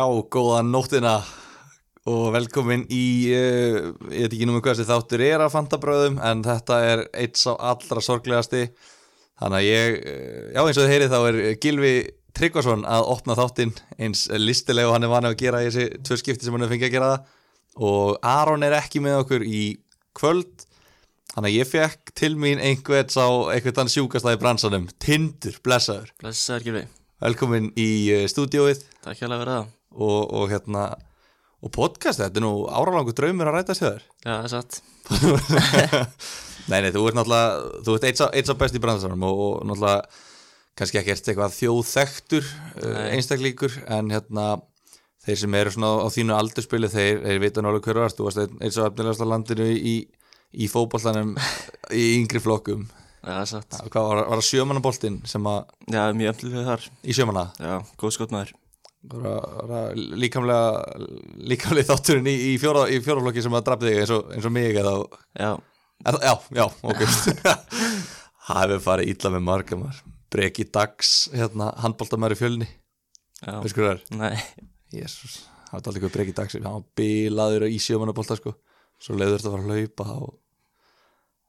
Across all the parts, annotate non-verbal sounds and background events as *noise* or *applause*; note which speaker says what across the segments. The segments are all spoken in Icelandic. Speaker 1: og góða nóttina og velkomin í, uh, ég veit ekki númur hvað þessi þáttur er að fantabröðum en þetta er eitt sá allra sorglegasti þannig að ég, uh, já eins og þið heyrið þá er Gilvi Tryggvason að opna þáttinn eins listilega og hann er vanið að gera í þessi tvö skipti sem hann er fengið að gera það og Aron er ekki með okkur í kvöld þannig að ég fekk til mín einhvern sá einhvern þann sjúkasta í bransanum, Tindur, blessaður
Speaker 2: Blessaður Gylfi,
Speaker 1: velkomin í uh, stúdióið
Speaker 2: takk hérlega fyrir það
Speaker 1: og, og hérna og podcast, þetta er nú áralangu draumur að ræta sér
Speaker 2: Já, það er satt
Speaker 1: nei, nei, þú ert náttúrulega þú ert eitt sá, eitt sá best í bransanum og, og náttúrulega kannski ekki ert eitthvað þjóðþektur uh,
Speaker 2: Nei.
Speaker 1: einstaklíkur en hérna þeir sem eru svona á þínu aldurspili þeir, þeir vita nálega hverju varst þú varst einn einn sá efnilegast á landinu í, í fótbollanum í yngri flokkum
Speaker 2: Já, það er satt
Speaker 1: hvað var, var það sjömanaboltinn sem að
Speaker 2: Já, mjög ömtlið við þar
Speaker 1: í sjömana
Speaker 2: Já, góð skotmaður
Speaker 1: bara, bara líkamlega líkamlega þátturinn í, í, fjóra, í fjóraflokki sem að drafði þig eins og, eins og mig eða,
Speaker 2: Já,
Speaker 1: eða, já, já, ok *laughs* það hefur farið illa með marga maður breki dags, hérna, handbóltamæri fjölni
Speaker 2: já,
Speaker 1: veist hvað það er?
Speaker 2: nei
Speaker 1: Jésús, það er aldrei hvað breki dags hann var bilaður í sjömanabólta sko svo leiður þetta að fara að hlaupa og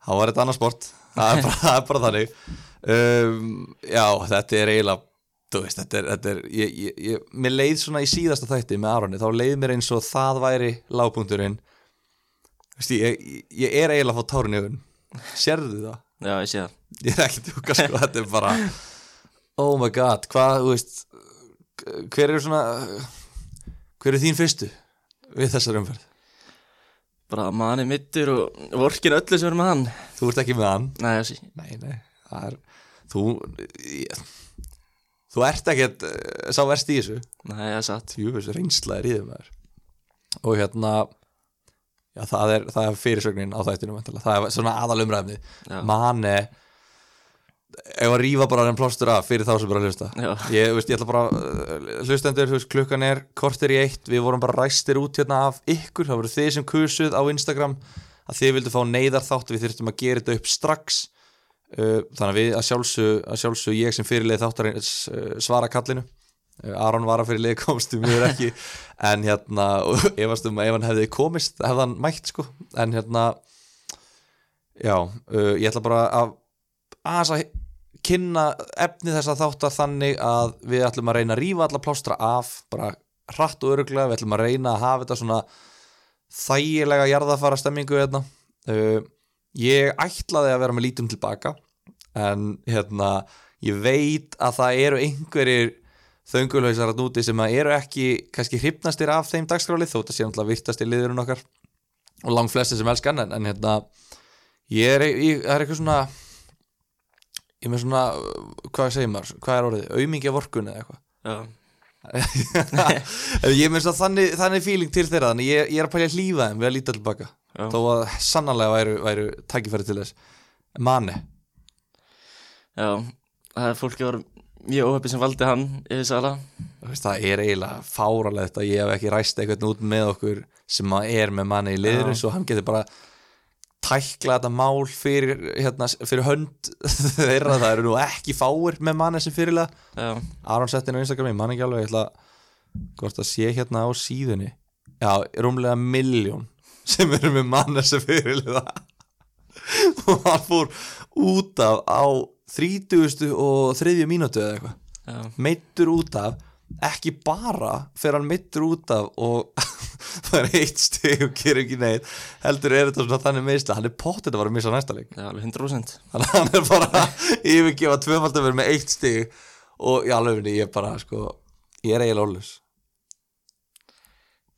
Speaker 1: það var þetta annað sport það er bara, *laughs* það er bara þannig um, já, þetta er eiginlega þú veist, þetta er, þetta er ég, ég, ég, mér leið svona í síðasta þætti með Aroni þá leið mér eins og það væri lágpunkturinn veist, ég, ég, ég er eiginlega að fá tárun í augun sérðu það?
Speaker 2: Já, ég sé það
Speaker 1: ég er ekki að tjóka sko, þetta er bara oh my god, hvað, þú veist hver er svona hver er þín fyrstu við þessar umferð?
Speaker 2: Bara manni mittur og vorkin öllu sem er með hann
Speaker 1: Þú ert ekki með hann?
Speaker 2: Nei, já, sí
Speaker 1: Nei, nei, það er þú, ég, þú ert ekkert eh, sá verst í þessu
Speaker 2: Nei, það er satt
Speaker 1: Júfus, reynsla er í þeim maður og hérna já, það er, það er fyrirsögnin á þættinu væntanlega. það er svona aðalumræfni
Speaker 2: Já.
Speaker 1: manni ef að rífa bara enn plástur af fyrir þá sem bara hlusta
Speaker 2: Já.
Speaker 1: ég, þú veist, ég ætla bara uh, hlustendur, þú veist, klukkan er kortir í eitt við vorum bara ræstir út hérna af ykkur það voru þið sem kusuð á Instagram að þið vildu fá neyðarþátt við þyrftum að gera þetta upp strax Uh, þannig að við að sjálfsög, að sjálfsög ég sem fyrirlið þáttarins uh, svara kallinu uh, Aron var að fyrirlið komst um mér ekki en hérna, og efast um að ef hann hefði komist hefði hann mætt sko en hérna já, uh, ég ætla bara að aðeins að kynna efni þessa þáttar þannig að við ætlum að reyna að rífa alla plástra af bara hratt og öruglega, við ætlum að reyna að hafa þetta svona þægilega jarðafara stemmingu hérna uh, ég ætlaði að vera með lítum tilbaka en hérna ég veit að það eru einhverjir þöngulhausar að núti sem að eru ekki kannski hrifnastir af þeim dagskráli þótt að sé náttúrulega virtastir liðurinn okkar og langt flesti sem elskan en, en hérna ég er, ég, það er eitthvað svona ég er með svona hvað segir maður, hvað er orðið, aumingja vorkun eða eitthvað
Speaker 2: *laughs* Já,
Speaker 1: En ég minnst að þannig, þannig fíling til þeirra þannig ég, ég er að pælja að hlýfa þeim við að líta tilbaka
Speaker 2: Já.
Speaker 1: þó að sannarlega væru, væru tækifæri til þess manni,
Speaker 2: já Það er fólki var mjög óheppið sem valdi hann yfir sala
Speaker 1: það er eiginlega fáralegt að ég hef ekki ræst eitthvað út með okkur sem að er með manni í liðinu
Speaker 2: Já.
Speaker 1: svo hann getur bara tækla þetta mál fyrir, hérna, fyrir hönd *laughs* þeirra, það eru nú ekki fáir með manni sem fyrirlega
Speaker 2: Já,
Speaker 1: Aron setti inn á Instagram, ég man ekki alveg ég ætla að- hvort að sé hérna á síðunni já, rúmlega miljón sem eru með manna sem fyrirliða og hann fór út af á 30. og 3. mínútu eða eitthvað
Speaker 2: já,
Speaker 1: meittur út af ekki bara fyrir hann meittur út af og *laughs* það er eitt stig og gerir ekki neitt heldur er þetta svona þannig meðsla hann er pottið að vera að missa næsta leik
Speaker 2: já, alveg 100%
Speaker 1: þannig að hann er bara að yfirgefa tvöfaldumur með eitt stig og í alvegni ég er bara sko ég er eiginlega ólus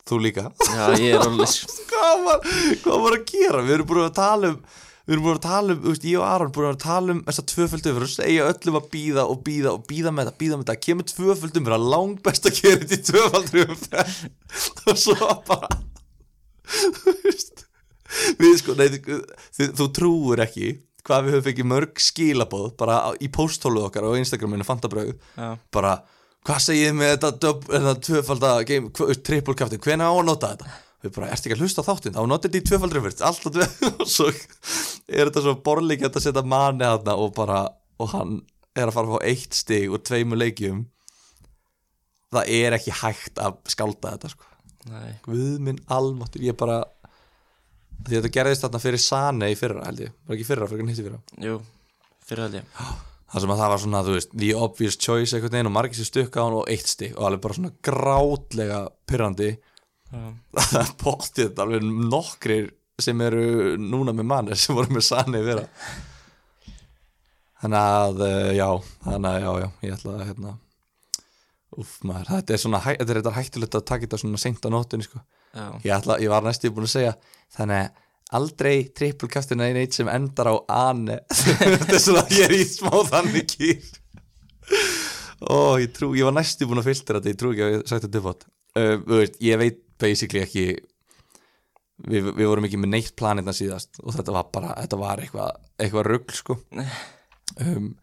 Speaker 1: þú líka
Speaker 2: Já, ég er alveg
Speaker 1: hvað var, hvað var að gera við erum búin að tala um við erum búin að tala um, þú veist, ég og Aron búin að tala um þessa tvöfaldumur og segja öllum að býða og býða og býða með þetta, býða með þetta kemur tvöfaldumur að langbest að gera þetta í tvöfaldumur *laughs* og svo bara þú veist við sko, nei, þú, þú, þú trúur ekki hvað við höfum fengið mörg skilaboð bara á, í pósthóluð okkar og Instagraminu fantabröð,
Speaker 2: Já,
Speaker 1: bara hvað segið þið með þetta, döb, þetta tvöfalda game, hva, triple captain, hvenær á að nota þetta við bara, ertu ekki að hlusta á þáttinn, þá notið þetta í tvöfaldri fyrst, alltaf tvö *laughs* og svo er þetta svo borlíkjönd að setja manni þarna og bara, og hann er að fara að fá eitt stig og tveimur leikjum það er ekki hægt að skálda þetta sko.
Speaker 2: Nei,
Speaker 1: Guð minn almáttur, ég bara því þetta gerðist þarna fyrir Sane í fyrra held ég, var ekki í fyrra, fyrir nýtti fyrra
Speaker 2: jú, fyrir held ég
Speaker 1: það sem að það var svona, þú veist, the obvious choice einhvern veginn og margir sér stukka á hann og eitt stig og alveg bara svona grátlega *laughs* pyrrandi
Speaker 2: Já,
Speaker 1: það er bóttið alveg nokkrir sem eru núna með manni sem voru með Sane í fyrra þannig að eh, já, þannig að já, já, ég ætla að hérna Úf maður, þetta er svona hæ- þetta er þetta hættulegt að taka þetta svona seint á nóttunni sko.
Speaker 2: já,
Speaker 1: ég, ætla, ég var næstu búin að segja þannig að aldrei trippulkastina einn eitt sem endar á ane *laughs* þetta er svona ég er í smá þannig kýr ó ég trú ég var næstu búin að filtra þetta ég trú ekki að ég sagt þetta uppátt uh, þú veist, ég veit basically ekki við, við vorum ekki með neitt planetna síðast og þetta var bara þetta var eitthvað eitthvað rugl sko um,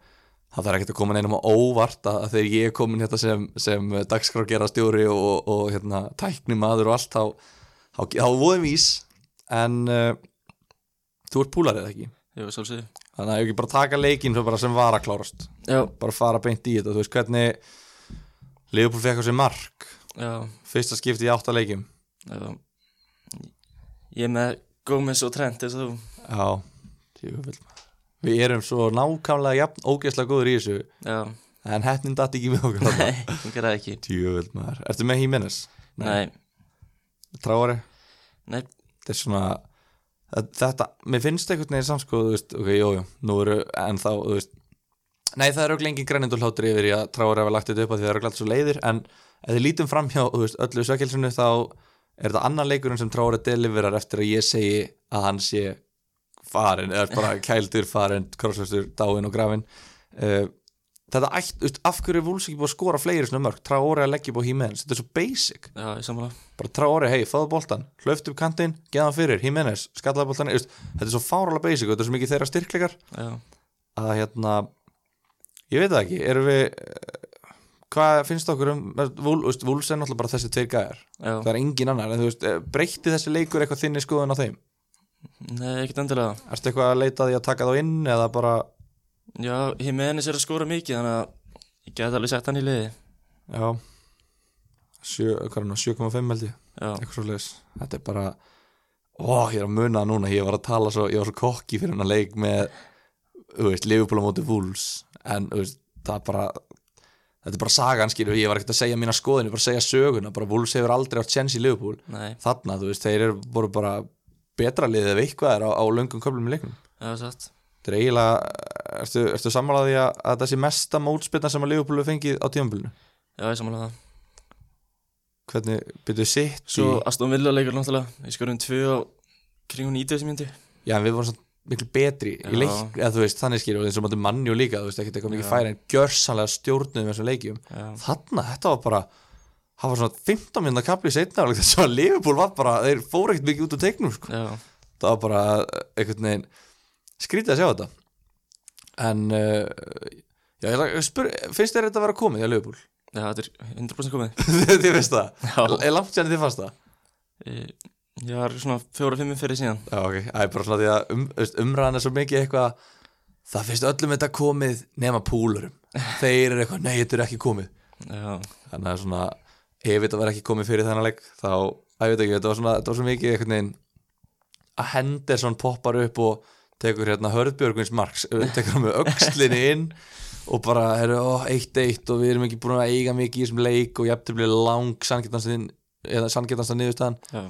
Speaker 1: það þarf ekkert að koma neinum á óvart að að þegar ég er komin hérna sem, sem dagskrágera stjóri og, og, og hérna, tækni maður og allt þá, þá, þá voðum ís en uh, þú ert púlar eða ekki
Speaker 2: jú, svolsöðu
Speaker 1: þannig að ég ekki bara taka leikinn svo bara sem var að klárast
Speaker 2: Já,
Speaker 1: bara fara beint í þetta, þú veist hvernig Leopold fekk á sig mark
Speaker 2: já,
Speaker 1: fyrsta skipti í átta leikim
Speaker 2: já Ég er með Gómez og Trent eins og þú
Speaker 1: já, tjúfell við erum svo nákvæmlega jafn ógeðslega góður í þessu
Speaker 2: Já,
Speaker 1: en hefnin datt ekki með *laughs* okkur
Speaker 2: *laughs* nei, hún gerði það ekki
Speaker 1: tjúfell maður, ertu með Hímenes?
Speaker 2: Nei,
Speaker 1: Tráari?
Speaker 2: nei,
Speaker 1: þetta er svona að- þetta, mér finnst einhvern veginn samt sko þú veist, ok, jú, jú, nú eru en þá, þú veist nei, það eru ekki lengi grænindulháttur yfir í að tráur hafa lagt þetta upp að því það eru alltaf svo leiðir en ef þið lítum framhjá, þú veist, öllu sökelsinu þá er þetta annan leikurinn sem tráur að deliverar eftir að ég segi að hann sé farin, eða bara kældur farin, krosslustur, dáin og grafin uh, þetta ætt, þú veist, af hverju er Wolves ekki búið að skora fleiri svona mörg, tráur að leggja upp á Hímeðins, þetta er svo basic
Speaker 2: já, ég sammála
Speaker 1: bara trári, hei, fáðu boltan, hlöftu upp kantinn geða hann fyrir, Jimenez, skallaði boltan just, þetta er svo fárálega basic og þetta er svo mikið þeirra styrkleikar
Speaker 2: Já,
Speaker 1: að hérna ég veit það ekki, erum við eh, hvað finnst okkur um Vúls Vúl, er náttúrulega bara þessi tveir gæjar
Speaker 2: já,
Speaker 1: það er engin annar, en þú veist, eh, breytti þessi leikur eitthvað þinni skoðun á þeim,
Speaker 2: nei, ekkert endilega
Speaker 1: ertu eitthvað að leita að því að taka þá inn eða bara,
Speaker 2: Já, Jimenez er að skora mikið þannig að ég geti alveg sett hann í liði
Speaker 1: já sjö- hvað er nú, 7,5 held ég
Speaker 2: Já,
Speaker 1: eitthvað svo þetta er bara ó, ég er að muna það núna, ég var að tala svo ég var svo kokki fyrir hennar leik með þú veist, Liverpool á móti Wolves en þú veist, það er bara þetta er bara sagan, skilju, ég var ekkert að segja mína skoðin, ég var að segja söguna, bara Wolves hefur aldrei átt chance í Liverpool,
Speaker 2: nei,
Speaker 1: þarna, þú veist, þeir eru voru bara betra liðið ef eitthvað er á, á löngum köflum í leiknum
Speaker 2: já, satt
Speaker 1: þetta er eiginlega, ertu, ertu sammálaði að, að þetta sé mesta mótspilna sem að Liverpool hefur fengið á tímanbílinu,
Speaker 2: Já, ég sammála það
Speaker 1: hvernig byrjuðu sitt
Speaker 2: Svo Aston Villa leikur náttúrulega Við skorum tvö á kringu 90 sem myndi
Speaker 1: Já, en við vorum svona miklu betri í
Speaker 2: Já.
Speaker 1: leik, eða þú veist, þannig skilur eins og mættu mannjú líka, þú veist, ekkert eitthvað mikið
Speaker 2: Já. Mm.
Speaker 1: færi en gjörsanlega stjórnuðum þessum leikjum
Speaker 2: Já,
Speaker 1: þarna, þetta var bara það var svona 15 minna kapli í seinna hálfleik, *laughs* þess að Liverpool var bara, þeir fóru ekkert mikið út úr teiknum, sko,
Speaker 2: já,
Speaker 1: það var bara eh, einhvern veginn, skrítið að sjá þetta en uh, já, ég ætla að spyr, finnst þér þetta að vera komið í Liverpool, *laughs*
Speaker 2: já, þetta er 100% komið
Speaker 1: þið finnst það
Speaker 2: Já,
Speaker 1: er langt sérna þið fannst það?
Speaker 2: Ég- ég var svona fjóra-fimmu fyrir síðan
Speaker 1: Já, ok, það er bara svona því að um, þú veist, umræðan er svo mikið eitthvað það finnst öllum þetta komið nema púlurum þeir eru eitthvað, nei, þetta er ekki komið
Speaker 2: Já,
Speaker 1: þannig að svona, ef þetta var ekki komið fyrir þennan leik, þá, að ég veit ekki þetta var svona, þetta var svo mikið einhvern veginn að Henderson poppar upp og tekur hérna Hörðbjörgvins marks eh, tekur hann með öxlinni inn og bara, herru, ó, eitt eitt og við erum ekki búin að eiga mikið í þessum leik og ég eftir blið lang sanngetanstan niðurstaðan
Speaker 2: já,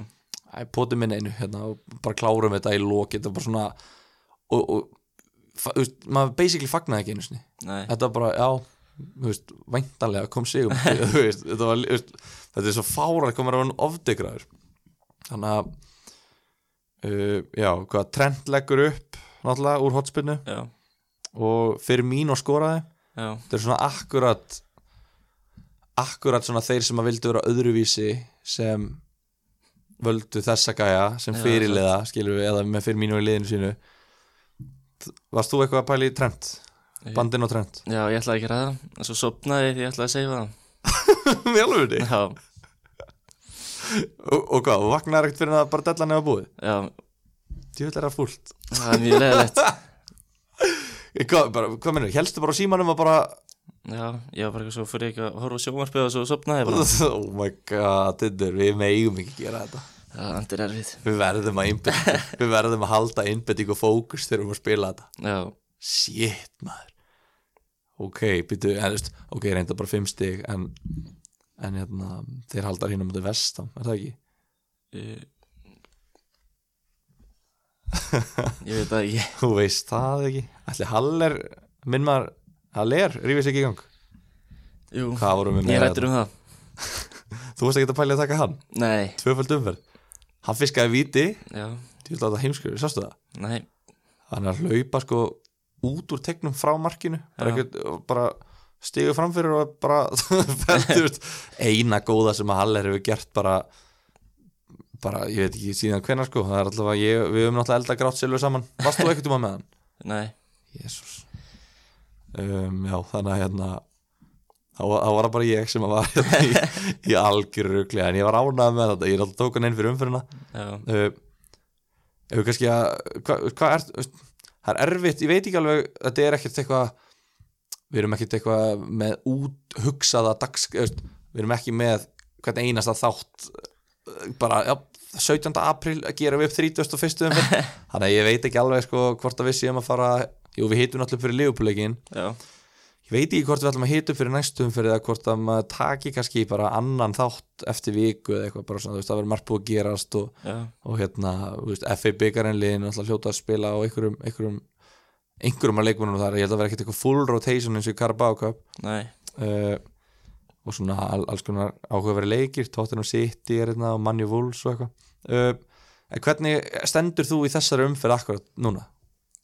Speaker 1: Æ, poti minn einu hérna og bara klárum þetta í loki þetta var bara svona og, og fa- þú veist, maður basically fagnaði ekki einu sinni
Speaker 2: nei,
Speaker 1: þetta var bara, já, þú veist væntanlega kom sig um *laughs* þú veist, þetta var, þú veist, þetta er svo fárar komur af hann ofdegraður þannig að uh, já, hvað, trend leggur upp náttúrulega úr hotspinnu
Speaker 2: já,
Speaker 1: og fyrir mín og skoraði
Speaker 2: já,
Speaker 1: þetta er svona akkurat akkurat svona þeir sem að vildu vera öðruvísi sem völdu þessa gæja sem
Speaker 2: Já,
Speaker 1: fyrirliða, skilur við, eða með fyrir mínu í liðinu sínu T- Varst þú eitthvað að pæla í trend?
Speaker 2: Ég-
Speaker 1: Bandin og trend?
Speaker 2: já, ég ætlaði að gera það En svo sopnaði ég því ég ætlaði að seifa
Speaker 1: Í alveg því?
Speaker 2: það Já,
Speaker 1: Og, og hvað, þú vagnar ekkert fyrir en að bara dellan eða búið?
Speaker 2: já,
Speaker 1: Djúvill er það fúlt
Speaker 2: það er mjög leðilegt
Speaker 1: Hvað, bara, hvað minnur, helstu bara á símanum að bara
Speaker 2: já, ég var bara eitthvað svo fyrir ekki að horfa á sjónvarpið og svo sopnaði ég bara.
Speaker 1: *laughs* oh my god, Tinder, við megum ekki gera þetta
Speaker 2: Já, þetta er erfið.
Speaker 1: við verðum að einbetta við verðum að halda einbetting og fókus þegar við erum að spila þetta
Speaker 2: Já,
Speaker 1: shit maður ok, býtu, en þú veist ok, reynda bara fimm stig en, en hérna, þeir haldar hérna mútið vestam, er það ekki?
Speaker 2: ég, ég veit það ekki.
Speaker 1: þú veist það ekki ætli Haller, minn maður Haller, rífið sér ekki í gang
Speaker 2: Jú,
Speaker 1: hvað vorum við
Speaker 2: ég
Speaker 1: með
Speaker 2: rættur um það.
Speaker 1: þú veist ekki að pæla í að taka hann,
Speaker 2: Nei,
Speaker 1: tvöfald umferð hann fiskaði viti,
Speaker 2: já,
Speaker 1: ég vil að það heimskur sástu það,
Speaker 2: nei,
Speaker 1: hann er að hlaupa sko út úr tegnum frá markinu bara,
Speaker 2: Já.
Speaker 1: eitthvað, bara stigu framfyrir og bara *laughs* feltur eina góða sem að Haller hefur gert bara bara, ég veit ekki síðan hvenær sko, það er alltaf að ég, við höfum náttúrulega elda grátt silfur saman, varst þú ekkert um að með hann?
Speaker 2: nei,
Speaker 1: Jésús um, Já, þannig að hérna þá var- þá var það bara ég sem að var hérna í, í algjör rugli en ég var ánað með þetta, ég er alltaf tók hann inn fyrir umfyrirna
Speaker 2: já,
Speaker 1: uh, Ef við kannski að hvað hva er, það er erfitt, ég veit ekki alveg þetta er ekkert eitthvað við erum ekkert eitthvað með úthugsaða dags, eh, veist, við erum ekki með hvern einasta þátt eh, bara, já, 17. apríl að gera við upp 31. umferð þannig að ég veit ekki alveg sko hvort að við séum að fara jú, við hitum náttúrulega fyrir liðupúleikin
Speaker 2: já,
Speaker 1: ég veit ekki hvort við ætlum að hita upp fyrir næstu umferð eða hvort að maður taki kannski bara annan þátt eftir viku eða eitthvað bara svona, þú veist, það verður margt búið að gerast og,
Speaker 2: já,
Speaker 1: og hérna, þú veist, FA byggarinliðin alltaf hljóta að spila á einhverjum einhverjum, einhverjum að leikmennum þar ég held að vera ekkert eitthvað full rotation eins og í Carabao Cup
Speaker 2: nei,
Speaker 1: uh, og svona all, alls konar áhugaveri leikir Tottenham City er hérna og Manju Wolves og eitthvað uh, en hvernig stendur þú í þessari umferð akkurat núna?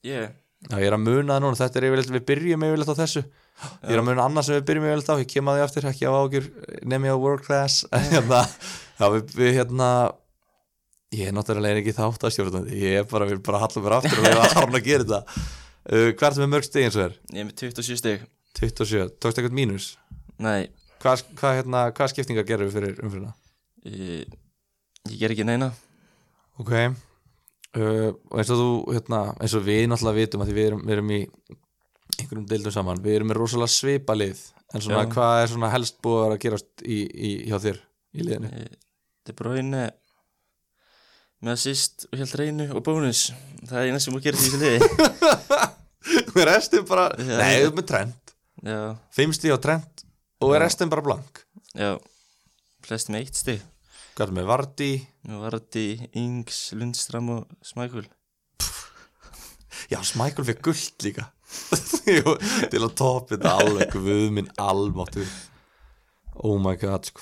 Speaker 2: ég,
Speaker 1: Já, ég er að muna það núna, þetta er yfirleitt, við byrjum yfirleitt á þessu Ég er að muna annars sem við byrjum yfirleitt á, ég kem að því aftur, ekki á ágjur, nefn ég á world class En *laughs* hérna, Já, við, við hérna, ég er náttúrulega ekki þátt að stjórnandi Ég er bara, við bara hallum mér aftur og við erum að gera þetta uh, Hvað ertu með mörg stig eins og þér?
Speaker 2: ég er með 27 stygg.
Speaker 1: 27, tókst eitthvað mínus
Speaker 2: Nei,
Speaker 1: Hvað, hvað, hérna, hvað skiptingar gerum við fyrir umfyrirna?
Speaker 2: ég, ég ger ekki neina.
Speaker 1: Ok uh, og eins og þú, hérna, eins og við náttúrulega vitum að því við erum, við erum í einhverjum deildum saman, við erum með rosalega svipalið en svona
Speaker 2: Já.
Speaker 1: hvað er svona helst búið að vera að gerast í, í, hjá þér í
Speaker 2: *laughs*
Speaker 1: liðinu
Speaker 2: De Bruyne með assist og held reynu og bónus það er eina sem þú gerir því sem liði *laughs*
Speaker 1: og restin bara,
Speaker 2: Já.
Speaker 1: nei, við erum með trend
Speaker 2: já,
Speaker 1: fimm stíð á trend og er restin bara blank
Speaker 2: já, flest með eitt stig
Speaker 1: hvað er með Vardí,
Speaker 2: nú var þetta Ings, Lundstram og Smækul
Speaker 1: já, Smækul fyrir gullt líka *laughs* Jú, til að topi þetta alveg guð minn almáttur oh my god sko.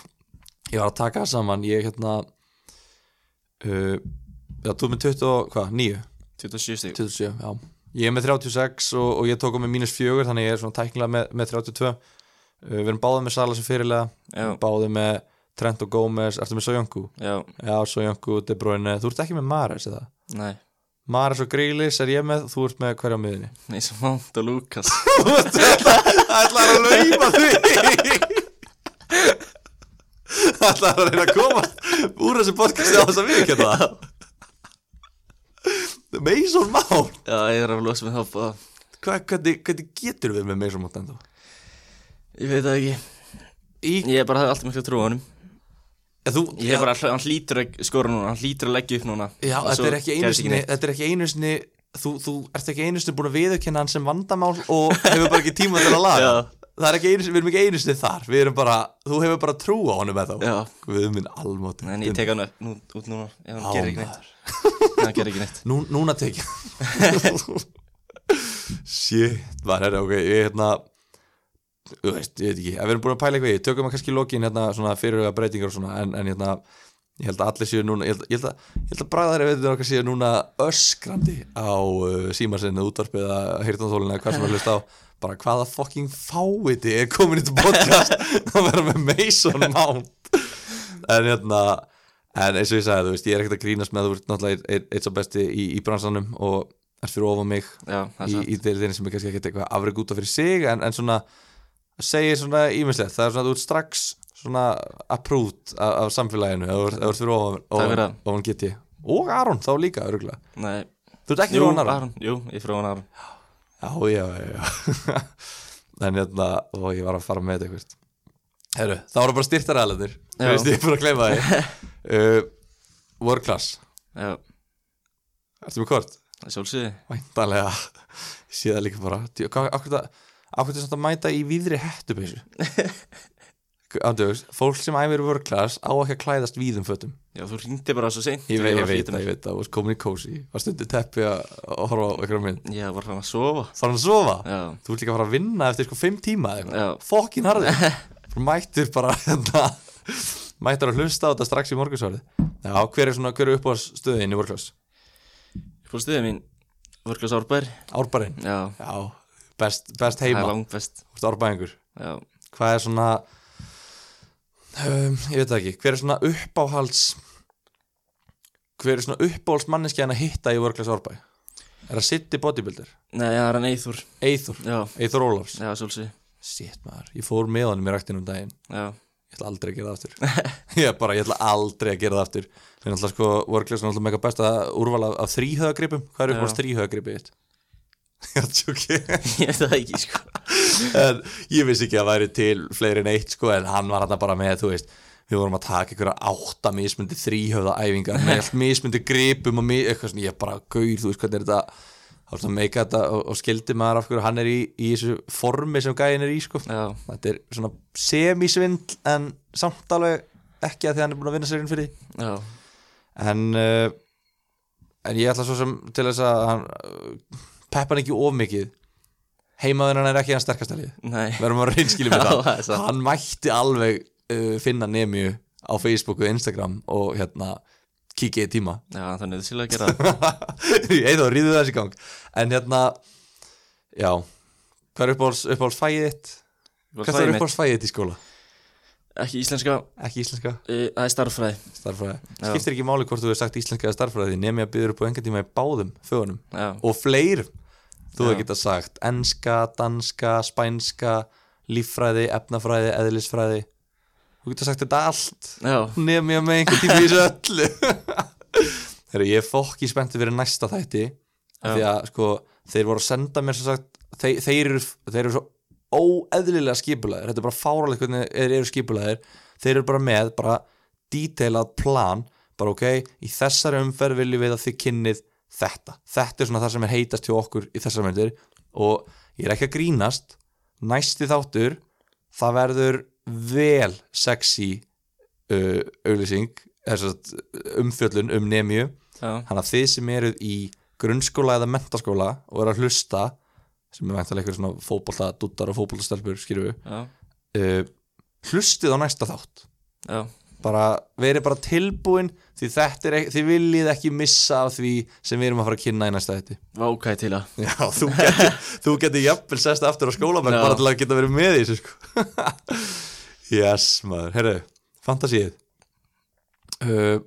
Speaker 1: ég var að taka það saman ég hérna uh, já, þú ert með 20 og hvað, 9
Speaker 2: 27 stig
Speaker 1: 27, já ég er með 36 og, og ég tók á mig mínus 4 þannig ég er svona tæknilega með, með 32 uh, við erum báðið með Sala sem fyrirlega
Speaker 2: Já.
Speaker 1: báðið með Trent og Gómez ertu með Sojanku?
Speaker 2: já,
Speaker 1: já, Sojanku, De Bruyne, þú ert ekki með Mares eða?
Speaker 2: nei,
Speaker 1: Mares og Grílis er ég með, þú ert með hverja á miðinni
Speaker 2: eins og Mount og Lukas
Speaker 1: ætlar að lauma því ætlar að reyna að komast úr þessu podcasti á þess að við geta það Mason Mount
Speaker 2: já, ég er að losa með þá báða
Speaker 1: Hva, hvernig, hvernig getur við með Mason Mount ennþá?
Speaker 2: ég veit það ekki,
Speaker 1: Í,
Speaker 2: ég bara hafði alltaf miklu trú á honum
Speaker 1: ja, þú,
Speaker 2: ég er bara, hann hlýtur að skora núna hann hlýtur að leggja upp núna
Speaker 1: já,
Speaker 2: Og
Speaker 1: þetta
Speaker 2: svo
Speaker 1: er ekki einu
Speaker 2: gerist
Speaker 1: sinni
Speaker 2: neitt.
Speaker 1: þetta er ekki einu sinni þú, þú ert ekki einu sinni búin að viðurkenna hann sem vandamál og hefur bara ekki tíma til að laga
Speaker 2: Já.
Speaker 1: það er ekki einu sinni, við erum ekki einu sinni þar við erum bara, þú hefur bara trú á honum eða þá
Speaker 2: já,
Speaker 1: Guð minn almáttur
Speaker 2: en ég tek hann upp nú, út núna ef hann gerir ekki neitt
Speaker 1: maður.
Speaker 2: ef hann gerir ekki neitt
Speaker 1: Nú, núna tekja Shit, maður er ok Ég hérna Þú veist, ég veit ekki, ef við erum búin að pæla eitthvað í Tökum að kannski lokin hérna svona fyrirhuga breytingar og svona en, en hérna, ég held að allir séu núna Ég held, ég held að, ég held að bræðari veitur okkar séu núna öskrandi Á uh, símarsinu útvarpið að heyrtanþólinu Hvað sem að hlusta á Bara hvaða fucking fáiði er komin í þetta podcast Að vera með Mason Mount En hérna En eins og ég sagði, þú veist, ég er ekkert að grínast með að þú ert náttúrulega eitt- eitt sá besti í, í bransanum og ert fyrir ofan mig
Speaker 2: já, það er
Speaker 1: í,
Speaker 2: satt
Speaker 1: í þeirri sem er kannski ekkert eitthvað afreg út af fyrir sig en, en svona segir svona ímislegt, það er svona að þú ert strax svona approved af, af samfélaginu ef þú ert- ef þú ert fyrir ofan,
Speaker 2: fyrir
Speaker 1: ofan,
Speaker 2: það.
Speaker 1: ofan GT og Aron þá líka örgulega
Speaker 2: nei
Speaker 1: þú ert ekki fyrir ofan Aron
Speaker 2: Jú, ég er frá hann Aron
Speaker 1: Já, *laughs* já, já, já. en hérna, og ég var að fara með þetta eitthvað Heru, það voru bara styrtaræðalendir
Speaker 2: Já.
Speaker 1: ég er bara að gleyma
Speaker 2: *laughs*
Speaker 1: því uh, World Class,
Speaker 2: já,
Speaker 1: ertu með kort?
Speaker 2: sjálfsögði
Speaker 1: Væntalega, ég sé það líka bara Djú, hvað- Af hverju það- af hverju þetta mæta í víðri
Speaker 2: *laughs*
Speaker 1: hettupeysu? Andjóks, fólk sem æfir World Class á ekki að klæðast víðum fötum
Speaker 2: Já, þú ringdi bara svo seint
Speaker 1: Ég veit, ég
Speaker 2: var
Speaker 1: veit,
Speaker 2: flýtur
Speaker 1: það,
Speaker 2: mér.
Speaker 1: ég veit, það var komin í kósi Var stundið teppi að að horfa á einhverja mynd
Speaker 2: Já, var hann að sofa
Speaker 1: Fara hann að sofa?
Speaker 2: Já,
Speaker 1: Þú ert líka að fara að vinna eftir sko 5 tíma eða
Speaker 2: Já.
Speaker 1: eitthvað Fokkin
Speaker 2: *laughs*
Speaker 1: harði Mættur bara hérna Mættur að hlusta á þetta strax í morgunsárið Já, hver er svona, hver er upp á stöðin í World Class?
Speaker 2: upp á stuðið mín Vörglas Árbær
Speaker 1: Árbærin
Speaker 2: Já,
Speaker 1: Já, best, best
Speaker 2: það er
Speaker 1: heima
Speaker 2: langbest
Speaker 1: Þú ert árbæðingur
Speaker 2: Já,
Speaker 1: Hvað er svona um, Ég veit það ekki, hver er svona uppáhalds Hver er svona uppáhalds manneskjan að hitta í World Class árbæ? Er það City Bodybuilder?
Speaker 2: nei, það er hann Eithur
Speaker 1: Eithor,
Speaker 2: Já,
Speaker 1: Eithor Ólafs
Speaker 2: já, sjálfsögði
Speaker 1: Sétt maður, ég fór með honum í ræktinu um daginn
Speaker 2: Já, *laughs*
Speaker 1: Ég ætla aldrei að gera það aftur Ég bara, ég ætla aldrei að gera það aftur Það er náttúrulega sko, workless er náttúrulega mega besta úrval af, af þríhöðagripum Hvað er upp á
Speaker 2: Já.
Speaker 1: þríhöðagripið þitt? *laughs* Já, tjóki
Speaker 2: ég veit það ekki, sko
Speaker 1: En ég vissi ekki að væri til fleiri en eitt sko En hann var hann bara með, þú veist Við vorum að taka einhverja átta mismundi þríhöðaæfingar Með allt mismundi gripum og mi eitthvað svona Ég bara, gaur, þú veist hvernig er þetta Það er svona meika þetta og, og skildi maður af hverju hann er í, í þessu formi sem gæin er í sko
Speaker 2: Já,
Speaker 1: þetta er svona semisvindl en samt alveg ekki að því að hann er búin að vinna sér inn fyrir því.
Speaker 2: já,
Speaker 1: en uh, en ég ætla svo sem til þess að hann, uh, peppa hann ekki of mikið heimaðurinn hann er ekki hann sterkasta lið
Speaker 2: nei
Speaker 1: verðum að reynskilja með
Speaker 2: Já,
Speaker 1: það
Speaker 2: það er satt.
Speaker 1: hann mætti alveg uh, finna nemiu á Facebook og Instagram og hérna kíkja í tíma *laughs*
Speaker 2: Já, það er nöðsilega að gera *laughs* það
Speaker 1: eða ríðu þessi gang en hérna já, hvað er uppáhalds, uppáhalds fæið þitt?
Speaker 2: Uppáhalds
Speaker 1: Hvað er
Speaker 2: fagið mitt?
Speaker 1: uppáhalds fæið þitt í skóla?
Speaker 2: Ekki íslenska,
Speaker 1: Ekki íslenska?
Speaker 2: uh, það er starffræði
Speaker 1: starffræði,
Speaker 2: Já.
Speaker 1: skiptir ekki máli hvort þú hefur sagt íslenska eða starffræði, nemi að byggður upp á engan tíma í báðum fögunum
Speaker 2: Já,
Speaker 1: og fleir þú
Speaker 2: Já.
Speaker 1: hefur geta sagt enska, danska, spænska líffræði, efnafræði, eðlisfræði þú geta sagt þetta allt
Speaker 2: já,
Speaker 1: nemi að með engan tíma í þessu öllu *laughs* Þegar ég er fokki spennti fyrir næsta þætti af því að sko, þeir voru að senda mér sem sagt, þeir, þeir, eru, þeir eru svo óeðlilega skipulaðir þetta er bara fáralegt hvernig þeir eru skipulaðir þeir eru bara með bara detailað plan, bara ok í þessari umferð viljum við að þið kynnið þetta, þetta er svona það sem er heitast hjá okkur í þessar myndir og ég er ekki að grínast næsti þáttur, það verður vel sexy uh, auglýsing eða sem sagt, umfjöllun um nemiu
Speaker 2: já,
Speaker 1: Þannig að þið sem eruð í grunnskóla eða mentaskóla og eru að hlusta sem er væntalega eitthvað svona fótbolta duttar og fótboltastelpur, skýrðu
Speaker 2: já,
Speaker 1: uh, hlustið á næsta þátt
Speaker 2: já
Speaker 1: bara, verið bara tilbúin því þetta er, ek- þið viljið ekki missa af því sem við erum að fara að kynna í næsta þetta
Speaker 2: Vákæði til að
Speaker 1: Já, þú geti, þú geti jafnvel sest aftur á skólabæk
Speaker 2: Já.
Speaker 1: bara til að geta verið með í þessu sko Yes, maður, herru, fantasíð uh,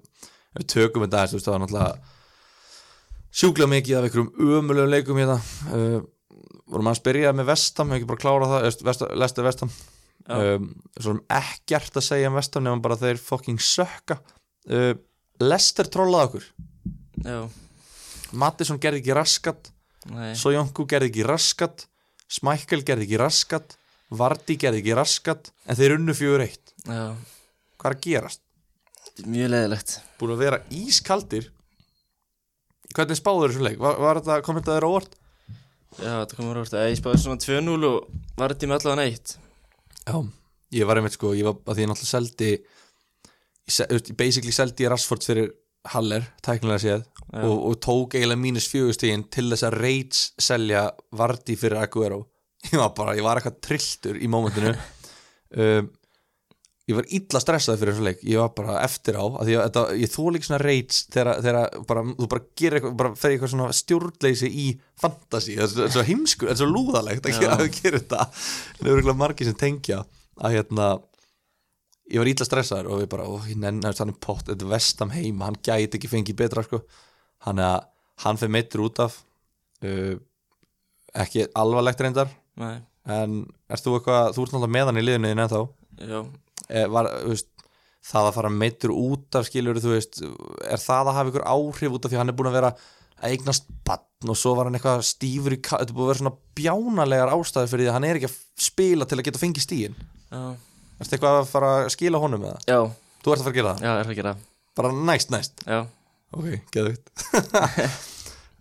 Speaker 1: Við tökum þetta aðeins, þú veist, það var náttúrulega sjúklega mikið af einhverjum ömulegum leikum hérna uh, vorum að spyrja með Vestam, hefur ekki bara klárað það Öst- Vest- Lester Vestam
Speaker 2: Já.
Speaker 1: um, Svo erum ekkert að segja um Vestam nefnum bara þeir fucking sökka uh, Lester trollaði okkur
Speaker 2: Já,
Speaker 1: Mattisson gerði ekki raskat
Speaker 2: nei,
Speaker 1: Sojonku gerði ekki raskat Smækkel gerði ekki raskat Vardi gerði ekki raskat en þeir unnu fjögur eitt
Speaker 2: já
Speaker 1: hvað er að gerast?
Speaker 2: Mjög leðilegt
Speaker 1: Búin að vera ískaldir hvernig spáður þessu leik? Var, var þetta, kom þetta þér á óvart?
Speaker 2: Já, þetta komur orðið að ég spáði svona 2-0 og var þetta með allavega neitt
Speaker 1: Já, ég var einmitt sko ég var, að því ég náttúrulega seldi ég se, veist, basically seldi ég Rassford fyrir Haller, tæknilega séð
Speaker 2: Já.
Speaker 1: og, og tók eiginlega mínus fjögustíðin til þess að Reits selja Vardi fyrir Aguero ég var bara, ég var eitthvað trilltur í mómentinu um, ég var illa stressað fyrir þessu leik ég var bara eftir á, að því að þetta, ég þóla ekki svona Reits þegar, þegar bara, þú bara gerir eitthvað, bara fer í eitthvað svona stjórnleysi í fantasi, það er svo- svo heimskur það er svo lúðalegt að
Speaker 2: Já.
Speaker 1: gera, að gera þetta en það eru ekki margir sem tengja að hérna ég var ítla stressaður og við bara, ó, ég nenni hann er pott, þetta er vestam heima, hann gæti ekki fengið betra sko, hann er að hann fyrir meittur út af uh, ekki alvarlegt reyndar
Speaker 2: Nei,
Speaker 1: en erst þú eitthvað, þú ert náttúrulega með hann í liðinu þín ennþá,
Speaker 2: já,
Speaker 1: e, var, þú veist, það að fara meittur út af skilur þú veist, er það að hafa ykkur áhrif út af því að hann er búin að vera að eignast bann og svo var hann eitthvað stífur í ka- þetta er búin að vera svona bjánalegar ástæður fyrir því að hann er ekki að spila til að geta fengið stíin
Speaker 2: já,
Speaker 1: Ertu eitthvað að fara að skila honum eða?
Speaker 2: já,
Speaker 1: Þú ert að fara að gera það?
Speaker 2: já, er það að gera það.
Speaker 1: Bara næst, næst
Speaker 2: já,
Speaker 1: Ok, *laughs* geðvitt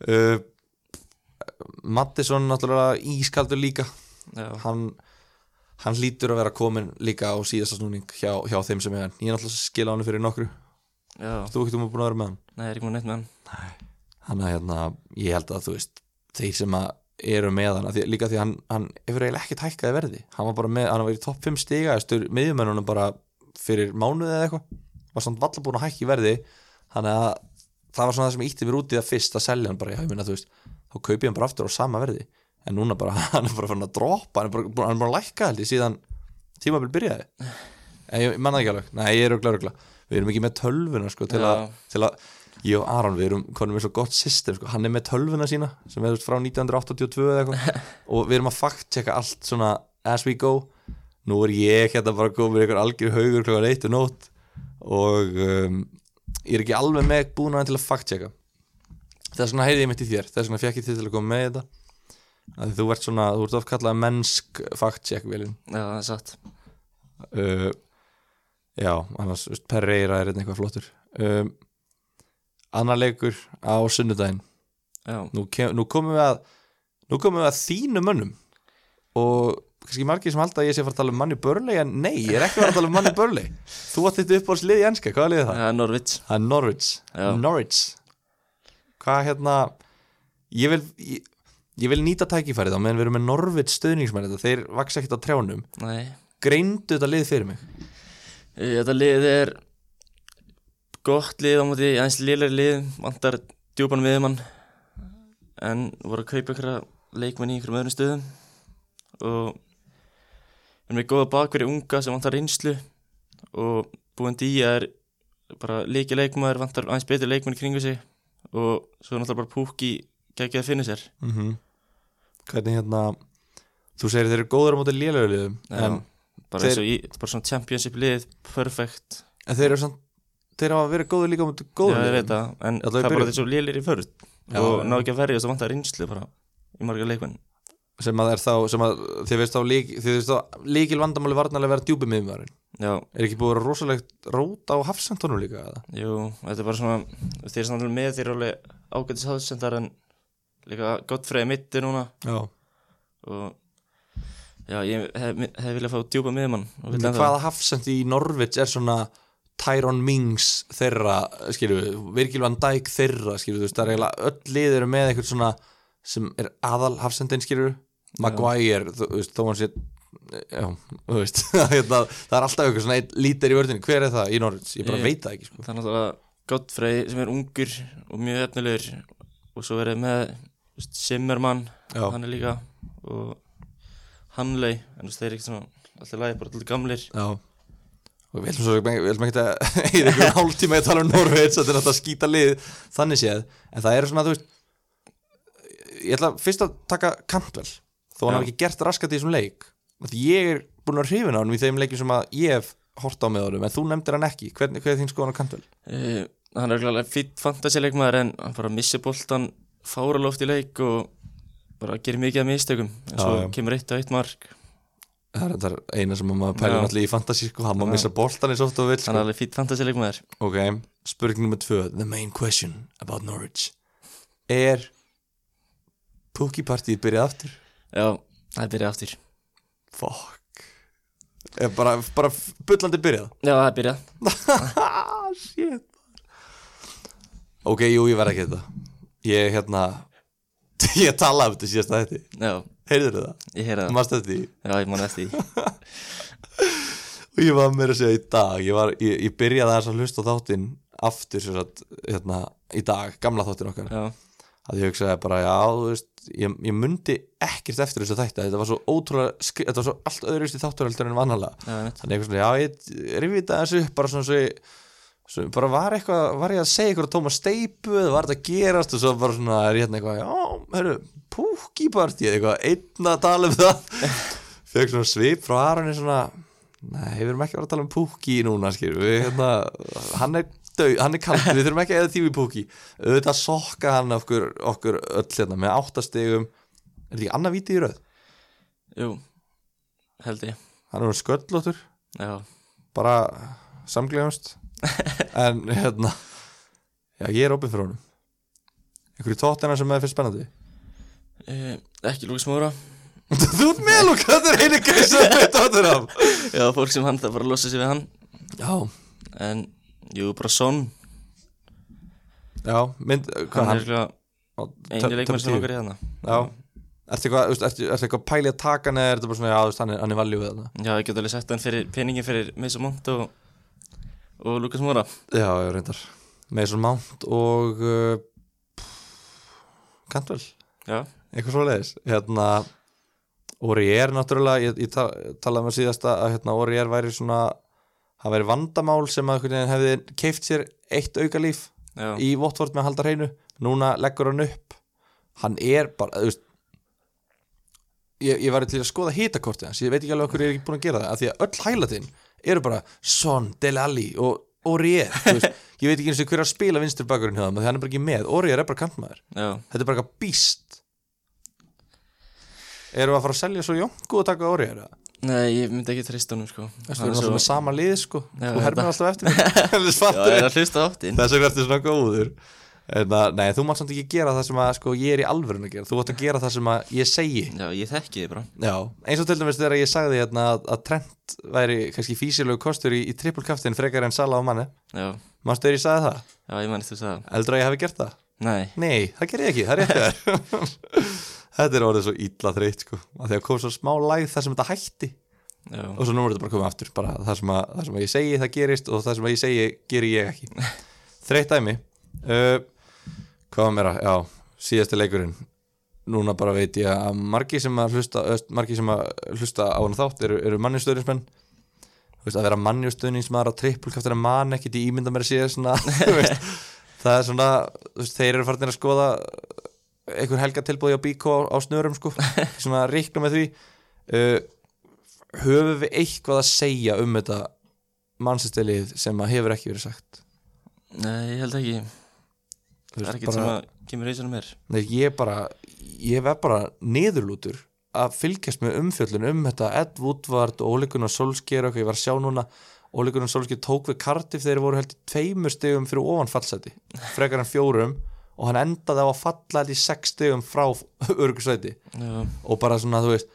Speaker 1: uh, Mattisson náttúrulega ískaldur líka
Speaker 2: já,
Speaker 1: hann, hann lítur að vera komin líka á síðasta snúning hjá, hjá þeim sem er hann Ég er náttúrulega að skila honum fyrir nokkru
Speaker 2: já,
Speaker 1: Þú ekkert um að búin að vera með hann
Speaker 2: nei, er ekki múið neitt með hann,
Speaker 1: hann að hérna, ég held að þú veist þeir sem að eru með hann af því, líka því að hann, hann hefur eiginlega ekkert hækkaði verði hann var bara með, hann var í topp 5 stiga eftir miðjumennunum bara fyrir mánuði eða eitthvað, var samt valla búin að hækka í verði þannig að það var svona það sem ítti mér út í það fyrst að selja hann bara, já ég minna þú veist, þá kaupi ég hann bara aftur á sama verði, en núna bara *laughs* hann er bara fann að droppa, hann er bara, hann er bara að lækka held ég síðan tímabil byrjaði en ég manna ekki alveg, nei ég er ögla ögla við erum ekki með tölvuna sko til að,
Speaker 2: Já.
Speaker 1: til að ég og Aron, við erum konum með svo gott system sko. hann er með tölvuna sína sem er þú veist, frá 1982 eða eitthvað og við erum að fact checka allt svona as we go nú er ég hérna bara komin einhver algjör haugur klokkan eitt og nótt og um, ég er ekki alveg með búnaðan til að fact checka þess vegna heyrði ég mitt í þér þess vegna fekk ég þið til að koma með í þetta að þú ert svona, þú ert ofkallað mennsk fact check velin
Speaker 2: já, það er satt,
Speaker 1: uh, já, annars þú veist, Pereira er einhvern eitthvað flottur um, annar leikur á sunnudaginn
Speaker 2: já,
Speaker 1: nú, kem, nú komum við að nú komum við að þínu mönnum og kannski margir sem halda að ég sé að fara að tala um manni börli en nei, ég er ekki að fara að tala um manni börli þú átt þitt uppáhalslið í enska, hvað er liðið það?
Speaker 2: það er Norvits,
Speaker 1: Það er Norwich
Speaker 2: Já.
Speaker 1: Norwich Hvað hérna Ég vil, ég, ég vil nýta tækifærið á meðan við erum með Norwich stöðningsmenn þetta þeir vaksa ekkert á trjánum
Speaker 2: nei,
Speaker 1: Greindu þetta lið fyrir mig
Speaker 2: Þetta lið er gott lið á móti aðeins lélæri lið, vantar djúpan viðmann en voru að kaupa ykkur leikmenn í einhverjum öðrum stöðum og erum við góða bakverði unga sem vantar reynslu og búin dýja er bara líki leikmaður, vantar aðeins betri leikmenn í kringu sig og svo er náttúrulega bara púki geggið að finna sér
Speaker 1: mm Hvernig hérna Þú segir þeir eru góður á móti lélögu liðum en,
Speaker 2: bara,
Speaker 1: þeir-
Speaker 2: þeir... í, bara svona championship lið, perfect
Speaker 1: en þeir eru samt Þeir hafa verið góður líka á móti
Speaker 2: Já,
Speaker 1: góður
Speaker 2: ég veit það, en
Speaker 1: Já, það
Speaker 2: það
Speaker 1: er
Speaker 2: er bara
Speaker 1: byrjun.
Speaker 2: þessu lélir í förð
Speaker 1: Já,
Speaker 2: og
Speaker 1: já.
Speaker 2: ná ekki að verja þess að vanta reynslu bara í marga leikmenn
Speaker 1: sem að er þá sem að þið veist þá lík, þið veist þá líkil vandamáli varnarlega vera djúpi miðumvarinn
Speaker 2: Já,
Speaker 1: er ekki búið að vera rosalegt rót á hafsendunum líka eða?
Speaker 2: jú, þetta er bara svona þeir sem alveg með þeir eru alveg ágætis hafsendar en líka gott fræði mitti núna
Speaker 1: Já,
Speaker 2: og já, ég hef, hef viljað fá djúpa miðmann og vil
Speaker 1: En
Speaker 2: ennþá
Speaker 1: hvaða hafsend í Norvits er svona Tyrone Mings þeirra, skilju, Virgil van Dijk þeirra, skilju, þú veist, það er eiginlega öll lið eru með eitthvað svona sem er aðal hafsendin, skilju, Maguire, þú veist, þó hann sé já, þú veist, *laughs* hérna, það er alltaf eitthvað svona eitt lítir í vördinu, hver er það í Norvits? Ég bara
Speaker 2: Ég-
Speaker 1: veit það ekki, sko.
Speaker 2: það er náttúrulega gott fræði sem er ungur og mjög efnilegur og svo er það með þú veist, Zimmermann,
Speaker 1: Já.
Speaker 2: hann er líka og Hanley en þú veist, þeir eru ekki svona alltaf lagi bara alltaf gamlir
Speaker 1: Já. Og við ætlum svo, við ætlum ekki að *laughs* eða ekki hálftíma í að tala um Norvits, þetta er alltaf að skýta lið þannig séð, en það eru svona, þú veist, ég ætla fyrst að taka Cantwell, þó hann
Speaker 2: Já.
Speaker 1: hafi ekki gert raskat í þessum leik, af því ég er búin að hrifin á hann í þeim leikum sem að ég hef hort á með honum, en þú nefndir hann ekki, hvernig, hvernig þín skoðan á Cantwell?
Speaker 2: Uh, hann er alveg fýtt fantasíleikmaður en hann bara missir boltan fáraloft í leik og bara gerir mikið af mistökum en svo
Speaker 1: Já, já.
Speaker 2: kemur eitt og eitt mark
Speaker 1: Það er þetta eina sem maður pælir
Speaker 2: Já.
Speaker 1: allir í fantasy, sko, hann má missa boltan eins oft og vill,
Speaker 2: hann
Speaker 1: sko.
Speaker 2: er alveg fýtt fantasíleikmaður
Speaker 1: Ok, spurning nummer tvö, the main question about Norwich, er Pukkipartíð byrjað aftur?
Speaker 2: já, það byrja aftur já,
Speaker 1: Fuck Ég bara, bara bullandi byrjað
Speaker 2: það byrja
Speaker 1: Shit Ok, jú, ég verð ekki þetta Ég, hérna *laughs* Ég talaði um þetta síðast að þetta
Speaker 2: já,
Speaker 1: Heyrður það?
Speaker 2: ég heyra það
Speaker 1: Mast þetta í
Speaker 2: já, ég man eftir
Speaker 1: *laughs*
Speaker 2: því
Speaker 1: Og ég var meira að segja í dag Ég, var, ég, ég byrjaði aðeins að hlusta á þáttinn Aftur sér að, hérna, í dag Gamla þáttinn okkar
Speaker 2: já,
Speaker 1: að ég hugsaði bara, já, þú veist ég, ég mundi ekkert eftir þessu þætti þetta var svo ótrúlega, skri- þetta var svo allt öðruist í þátturöldur en vannarlega
Speaker 2: Já, einmitt.
Speaker 1: þannig eitthvað svona, já, ég rifið þetta þessu upp bara svona svo ég Svo bara var eitthvað, var ég að segja eitthvað tóma steipu eða var þetta að gerast og svo bara svona er ég hérna eitthvað, já, herru, púkipartí eitthvað, einn að tala um það *laughs* fekk svona svip frá Aroni svona, nei, við erum ekki að vera að tala um púki núna, skilur við, hérna hann er döð, hann er kallt, við þurfum ekki að eða tífi púki, auðvitað sokka hann okkur, okkur öll hérna með áttastegum er þetta ekki annað viti í röð?
Speaker 2: jú, held ég
Speaker 1: hann er verið sköllóttur
Speaker 2: Já,
Speaker 1: bara samglegumst *laughs* en hérna já, ég er opið fyrir honum einhverju tóttina sem er fyrst spennandi
Speaker 2: e, ekki Lúkas Móra
Speaker 1: *laughs* þú ert með Luka, þetta er einu gæs sem við tóttir af
Speaker 2: Já, fólk sem hann það bara að losa sig við hann
Speaker 1: já,
Speaker 2: En, jú, bara Son
Speaker 1: já, mynd eh, hvað
Speaker 2: Hann er
Speaker 1: hann,
Speaker 2: eitthvað
Speaker 1: Töp-
Speaker 2: eini leikmann
Speaker 1: töp
Speaker 2: sem
Speaker 1: tíu?
Speaker 2: hérna. okkar í þarna
Speaker 1: já Ertu eitthvað, ertu, ertu, ertu eitthvað pæli að taka hann eða er þetta bara svona, já, þú veist, hann er, hann er valjú við þarna?
Speaker 2: Já, ég get alveg sett hann fyrir peningin fyrir Mesa Mont og, og Lukas Móra
Speaker 1: Já, ég reyndar. Mason Mount og uh, Cantwell,
Speaker 2: Já,
Speaker 1: eitthvað svo leiðis. Hérna, Ori er náttúrulega, ég, ég ta talaði með síðast að hérna, Ori er væri svona, hann væri vandamál sem að einhvern veginn hefði keift sér eitt auka líf
Speaker 2: já,
Speaker 1: í Votvort með að halda hreinu. Núna leggur hann upp. Hann er bara, þú veist, ég, ég var til að skoða hitakortið hans, ég veit ekki alveg okkur ég er ekki búin að gera það, af því að öll hælatin eru bara Son, Del Alli og Aurier, þú veist, ég veit ekki eins og hver er að spila vinstur bakurinn hjá það, því hann er bara ekki með Aurier er bara kantmaður,
Speaker 2: já
Speaker 1: þetta er bara eitthvað býst Erum við að fara að selja svo jónku og taka Aurier eða?
Speaker 2: Nei, ég myndi ekki treysta honum sko
Speaker 1: Þessu
Speaker 2: Hann
Speaker 1: erum
Speaker 2: er
Speaker 1: alltaf
Speaker 2: svo-
Speaker 1: með sama lið sko,
Speaker 2: Já,
Speaker 1: þú hermir
Speaker 2: þetta-
Speaker 1: alltaf eftir
Speaker 2: *laughs*
Speaker 1: mér. Ellers
Speaker 2: Já,
Speaker 1: fattur
Speaker 2: ég er
Speaker 1: ég.
Speaker 2: að hlusta áttinn
Speaker 1: þess vegna ertu svona góður en að, nei, þú mátt samt ekki gera það sem að sko, ég er í alvörun að gera, þú átt að gera það sem að ég segi
Speaker 2: Já, ég þekki þið bara
Speaker 1: Já, eins og til dæmis þegar ég sagði hérna að, að Trent væri kannski físilegu kostur í, í trippulkaftin frekar en Sala og manni
Speaker 2: Já,
Speaker 1: Manstu þegar ég sagði það?
Speaker 2: já, ég mani þú sagði
Speaker 1: Eldur að ég hafi gert það?
Speaker 2: Nei,
Speaker 1: Nei, það ger ég ekki, það er rétt hjá þér *laughs* Þetta er orðið svo illa þreytt sko að því að kom svo smá læð þar sem þetta hætti
Speaker 2: já,
Speaker 1: og svo nú er þetta bara komið aftur bara það sem, að, það sem að ég segi það gerist og það sem að ég segi geri ég ekki Þreytt dæmi uh, Hvað var meira? Já, síðasti leikurinn Núna bara veit ég að margi sem að hlusta, öst, margi sem að hlusta á hann þátt eru, eru mannjústöðningsmenn Þú veist, að vera mannjústöðningsmaður á trippulkaftur að man ekkit í ímynda mér að sé svona, *laughs* þú veist, það er svona þú veist, þeir eru farinir að skoða einhver helga tilbúði á bíkó á, á snörum sko, svona ríkna með því uh, höfum við eitthvað að segja um þetta mannsestilið sem að hefur ekki verið sagt
Speaker 2: nei, ég held ekki
Speaker 1: Þú
Speaker 2: Það er
Speaker 1: veist,
Speaker 2: ekkert sem að kemur reysunum mér
Speaker 1: nei, ég bara ég verð bara niðurlútur að fylgjast með umfjöllun um þetta Ed Woodward og Ole Gunnar Solskjær og eitthvað ég var að sjá núna Ole Gunnar Solskjær tók við Cardiff þegar þeir voru held í tveimur stegum fyrir ofan fallseti frekar en fjórum og hann endaði á að falla held í sex stegum frá örgusæti
Speaker 2: Já,
Speaker 1: og bara svona þú veist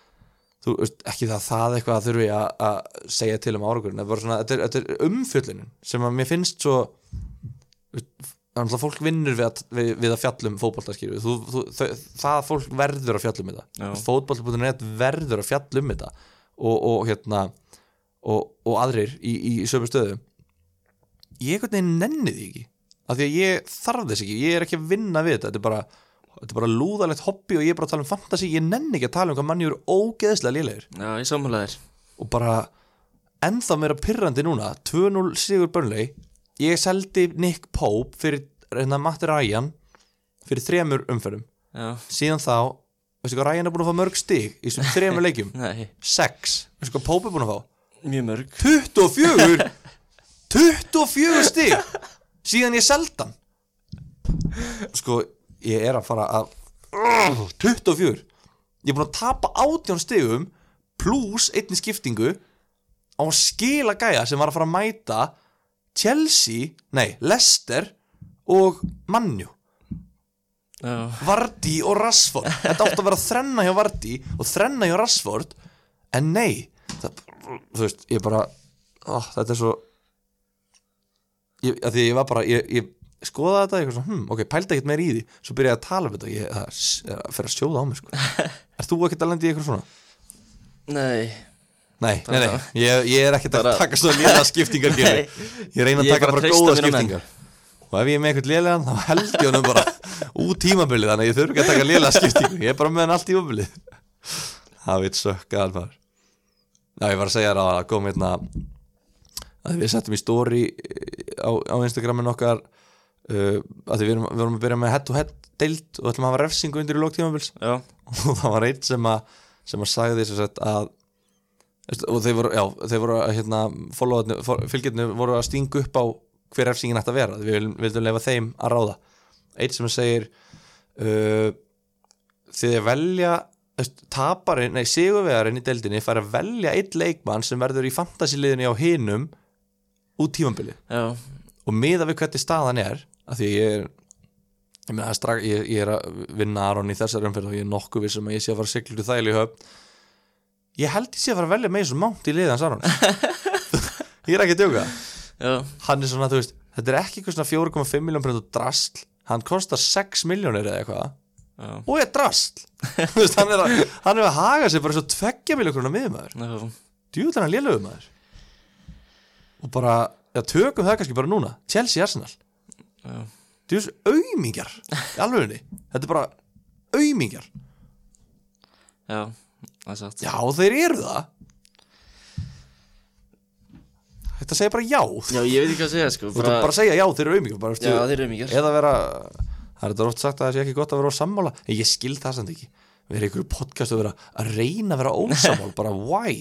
Speaker 1: þú veist, ekki það að það eitthvað að þurfi að, að segja til um árangurinn þetta er bara svona, þetta er, þetta er umfjöllunin sem að mér finnst svo þú veist, þannig að fólk vinnur við að, við, við að fjallum fótboltaskýru þú, þú, þau, það að fólk verður að fjallum
Speaker 2: Já.
Speaker 1: þetta fótbolta.net verður að fjallum þetta og, og hérna og, og aðrir í, í, í sömu stöðu ég einhvern veginn nenni því ekki af því að ég þarf þess ekki, ég er ekki að vinna við þetta þetta er bara, þetta er bara lúðalegt hobby og ég er bara að tala um fantasy, ég nenni ekki að tala um hvað manni eru ógeðslega lélegir
Speaker 2: já, ég sammála þér
Speaker 1: og bara ennþá meira pyrrandi núna 2-0 sigur börnlei ég seldi Nick Pope fyrir hérna, Matt Ryan fyrir þremur umferðum
Speaker 2: Já,
Speaker 1: síðan þá, veistu hvað Ryan er búin að fá mörg stig í þessum þremur
Speaker 2: *laughs*
Speaker 1: leikjum
Speaker 2: nei,
Speaker 1: 6, veistu hvað Pope er búin að fá
Speaker 2: mjög mörg
Speaker 1: 24 24 stig síðan ég seldan sko ég er að fara að 24 ég er búin að tapa 18 stigum pluss einni skiptingu á að skila gæja sem var að fara að mæta Chelsea, nei, Leicester og Manju
Speaker 2: Já,
Speaker 1: Vardí og Rashford Þetta átti að vera þrenna hjá Vardí og þrenna hjá Rashford En nei það, Þú veist, ég bara ó, Þetta er svo ég, að Því að ég var bara Ég, ég skoðaði þetta, ég var svona, hm, ok, pældi ekkert meir í því Svo byrjaði ég að tala um þetta Ég það s- er að fyrir að sjóða á mig, sko Er þú ekkert að lenda í eitthvað svona?
Speaker 2: nei
Speaker 1: Nei, nei, nei, ég, ég er ekkert að
Speaker 2: Bara-
Speaker 1: taka svona lélega skiptingar Gylfi. Ég reyna að
Speaker 2: Ég er
Speaker 1: taka
Speaker 2: bara að
Speaker 1: bara
Speaker 2: treysta
Speaker 1: góða
Speaker 2: mínum menn.
Speaker 1: skiptingar Og ef ég er með eitthvað lélegan þá held ég honum bara út tímabilið Þannig að ég þurfi ekki að taka lélega skiptingar Ég er bara með hann allt tímabilið Það veit sökka alvar Já, ég var að segja þér að kom hérna að við settum í story eh, á, á Instagramin okkar uh, að því við erum, við erum að byrja með head to head deilt og ætlum að hafa refsingu undir í lók tímabils
Speaker 2: Já,
Speaker 1: *laughs* og það var einn sem að sem að sagði þess að, að og þeir voru, já, þeir voru að hérna, followarnir- fol- fylgjirnir voru að stinga upp á hver refsingin ætti að vera við viljum- vildum lefa þeim að ráða einn sem segir uh, þið velja veist, taparinn, nei, sigurvegarinn í deildinni fær að velja einn leikmann sem verður í fantasiliðinni á hinum út tímambili
Speaker 2: já,
Speaker 1: og miða við hvernig staðan er af því ég er ég, meina, það er strax, ég, ég er að vinna Aron í þessari umferð og ég er nokkuð vissum að ég sé að fara að sigla út í þægileg höfn ég held ég sé að fara að velja með þessum mánt í liðans Aron *laughs* ég er ekki að djóka
Speaker 2: já,
Speaker 1: hann er svona, þú veist, þetta er ekki eitthvað svona 4,5 miljón prendu drasl hann kostar 6 miljónir eða eitthvað
Speaker 2: já,
Speaker 1: og er drasl *laughs* Þú veist, hann, er að, hann er að haga sér bara svo 2 miljón krona miðumæður
Speaker 2: já,
Speaker 1: djúðan hann lélögum maður og bara, já, tökum það kannski bara núna Chelsea Arsenal
Speaker 2: já,
Speaker 1: djúðs aumingjar í alvegurinni, þetta er bara aumingjar,
Speaker 2: já, það er satt.
Speaker 1: já þeir eru það þetta segir bara já þú
Speaker 2: Já, ég veit ekki hvað að segja, sko,
Speaker 1: ert
Speaker 2: bara,
Speaker 1: að bara segja já, þeir eru aumingjar bara,
Speaker 2: já,
Speaker 1: veistu,
Speaker 2: þeir eru mikið.
Speaker 1: eða vera það er þetta oft sagt að það sé ekki gott að vera á sammála en ég skil það samt ekki við erum einhverju podcast að vera að reyna að vera ósammála bara why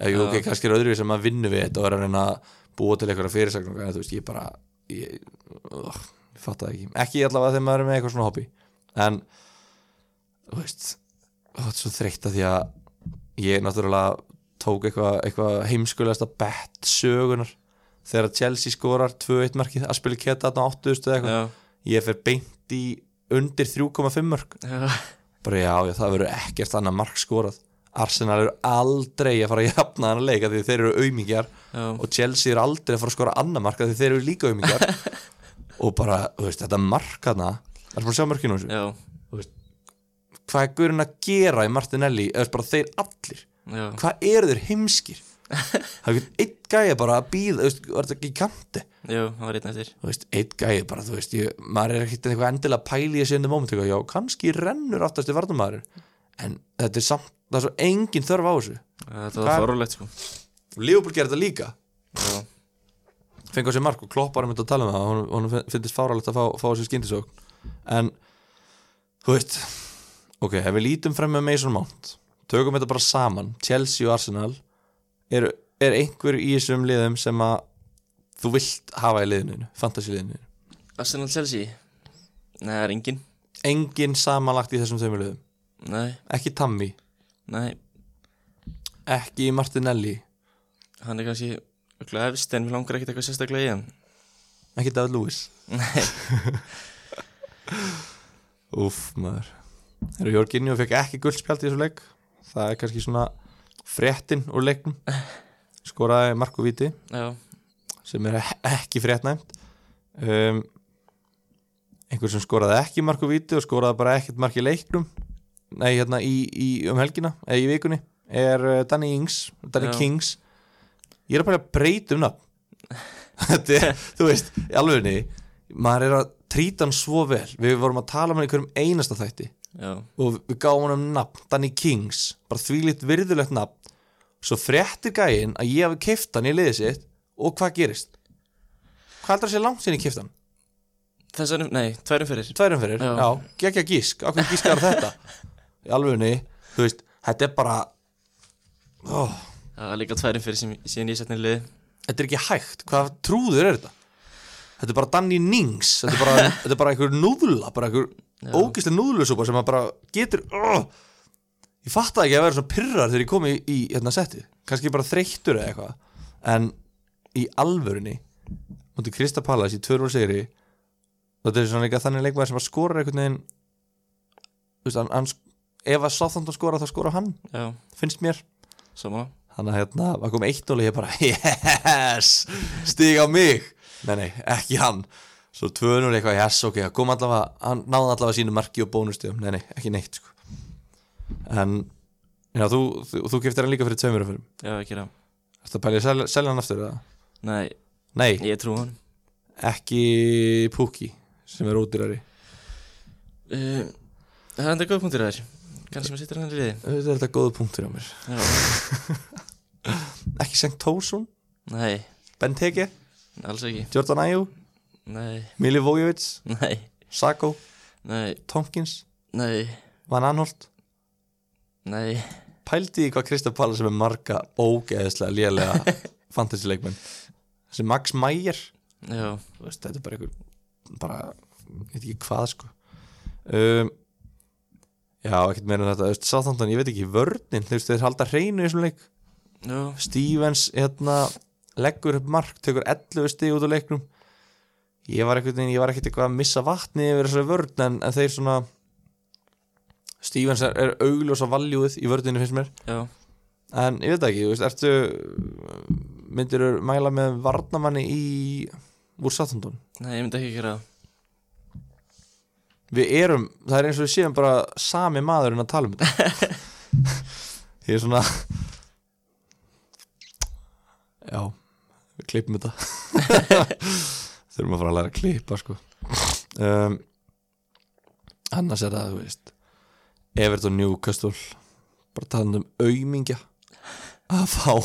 Speaker 1: ef ég ok, kannski er öðru sem að vinna við þetta og er að reyna að búa til einhverja fyrirsagnar en þú veist, ég bara ég, uh, ég fatt það ekki, ekki allavega þegar maður er með eitthvað svona hobby en þú veist, það er svo þreytt að því að ég náttúrulega tók eitthvað eitthva heimskulegasta bet sögunar þegar Chelsea skorar 2-1 markið að spila keta þarna á 80 eða eitthvað
Speaker 2: Já,
Speaker 1: ég fer beint í undir 3,5 mörg
Speaker 2: já,
Speaker 1: bara já, já, það verður ekkert annað mark skorað Arsenal eru aldrei að fara að jafna hann að leika því þeir eru aumingjar
Speaker 2: já,
Speaker 1: og Chelsea eru aldrei að fara að skora annað mark af því þeir eru líka aumingjar og bara, þú veist, þetta mark hana Það er bara að sjá mörkinu á þessu
Speaker 2: já,
Speaker 1: Hvað er guðurinn að gera í Martinelli eða bara þeir allir
Speaker 2: já,
Speaker 1: Hvað eru þeir heimskir? Það er einhvern einn gæja bara að býða, þú veist, var þetta ekki í kanti?
Speaker 2: já, það var einn eftir.
Speaker 1: þú veist, eitt gæði bara, þú veist, ég, maður er ekkert eitthvað endilega pæli í þessu endur moment, eitthvað, já, kannski rennur aftast í varnamæður, en þetta er samt, það er svo engin þörf á þessu.
Speaker 2: Þetta
Speaker 1: Hvað-
Speaker 2: var farulegt, sko.
Speaker 1: Leopold gerir þetta líka,
Speaker 2: Já,
Speaker 1: fengur sér mark og kloppar um þetta að tala um það, hún, hún finnst fáralegt að fá, fá þessu skyndisókn, en, þú veist, ok, ef við lítum frem með Mason Mount, tökum þetta bara saman, Chelsea og Arsenal, er, er einhver í þessum liðum sem að þú vilt hafa í liðinu, fantasy liðinu,
Speaker 2: Arsenal Chelsea? Nei, það er engin.
Speaker 1: engin samanlagt í þessum þeimur liðum,
Speaker 2: Nei,
Speaker 1: ekki Tammy,
Speaker 2: nei,
Speaker 1: ekki Martinelli
Speaker 2: hann er kannski örugglega efst en við langar ekkert eitthvað sérstaklega í hann.
Speaker 1: ekki David Lewis *laughs* Úff maður Þegar Jorginho fekk ekki guldspjald í þessu leik það er kannski svona fréttin úr leiknum skoraði Marko Viti
Speaker 2: Já,
Speaker 1: sem er ekki fréttnæmt um, einhver sem skoraði ekki Marko Viti og skoraði bara ekkert mark í leiknum nei hérna í, í um helgina eða í vikunni er eh, Danny Ings Danny
Speaker 2: Já.
Speaker 1: Kings ég er að bara að breyta um nafn *laughs* þetta er, þú veist, í alvegunni maður er að trýta hann svo vel við vorum að tala um hann í hverjum einasta þætti
Speaker 2: já,
Speaker 1: og við gáum hann um nafn Danny Kings, bara þvílitt virðulegt nafn svo fréttir gæinn að ég hafi keift hann í liðið sitt og hvað gerist? Hvað heldur að sé langt sinni keift hann?
Speaker 2: þessar, nei, tværum fyrir.
Speaker 1: Tværum fyrir?
Speaker 2: Já.
Speaker 1: Já, gekkja gísk, á hvernig gískar þetta? í alvegunni, þú veist, þetta er bara oh,
Speaker 2: Það er líka tværum fyrir sem, síðan ég sett niður liði.
Speaker 1: þetta er ekki hægt, hvað trúður er þetta? Þetta er bara Danny Nings þetta er bara, þetta er bara einhver núðla bara einhver ógislega núðlusúpa sem að bara getur oh, ég fatt ekki að vera svona pyrrar þegar ég kom í, í hérna setti, kannski bara þreyttur eða eitthvað, en í alvörunni, mútið Krista Pallas í tvörvól segri þetta er svona líka þannig leikmaður sem að skora einhvern veginn þú veist, hann, hann sk- ef að sáþóndan skora þá skora hann
Speaker 2: Já,
Speaker 1: finnst mér
Speaker 2: saman.
Speaker 1: Þannig að hérna, það kom eitt og ég bara Yes, stig á mig Nei, nei, ekki hann Svo 2-0 eitthvað, yes, ok, það kom allavega Hann náði allavega sínu marki og bónustegum Nei, nei, ekki neitt sko. En, já, þú, þú, þú giftir hann líka fyrir tveimur fyrir
Speaker 2: Já, ekki það.
Speaker 1: Þetta pæli að selja, selja hann aftur eða?
Speaker 2: Nei,
Speaker 1: Nei,
Speaker 2: ég trú hann.
Speaker 1: ekki Pukki sem er ódýrari
Speaker 2: Uh, það er enda góð punktur þær. Kannski maður sittur hann í liði.
Speaker 1: Þetta er þetta góðu punktur á mér
Speaker 2: Já,
Speaker 1: Ekki Sengt Tósun,
Speaker 2: nei,
Speaker 1: Ben Teke,
Speaker 2: alls ekki.
Speaker 1: Jordan Ayew
Speaker 2: Nei,
Speaker 1: Mili Vojevits,
Speaker 2: nei,
Speaker 1: Sako,
Speaker 2: nei,
Speaker 1: Tompkins
Speaker 2: nei,
Speaker 1: Van Anholt
Speaker 2: nei.
Speaker 1: pældi í hvað Kristaf Palla sem er marga ógeðislega lélega fantasy-leikmenn þessi Max Meyer
Speaker 2: Já,
Speaker 1: þú veist, þetta er bara einhver bara, ég veit ekki hvað sko um, Já, ekkert meira en þetta, þú veist, Southampton, ég veit ekki vörnin, þú veist, þeir halda hreinu í þessum leik
Speaker 2: Já,
Speaker 1: Stevens, hérna leggur upp mark, tekur 11 stig út á leiknum ég var ekkert ég var ekkert eitthvað að missa vatni yfir þessari vörn en, en þeir svona Stevens er, er augljós á valjúið í vörninu finnst mér,
Speaker 2: já,
Speaker 1: en ég veit það ekki þú veist, ertu myndir mæla með varnamanni í úr Southampton
Speaker 2: nei, ég myndi ekki gera það.
Speaker 1: Við erum, það er eins og við séum bara sami maðurinn að tala um þetta Ég er svona Já, við klippum þetta Þurfum að fara að læra að klippa sko um, Annars er það, þú veist Everton Newcastle bara talað um aumingja að fá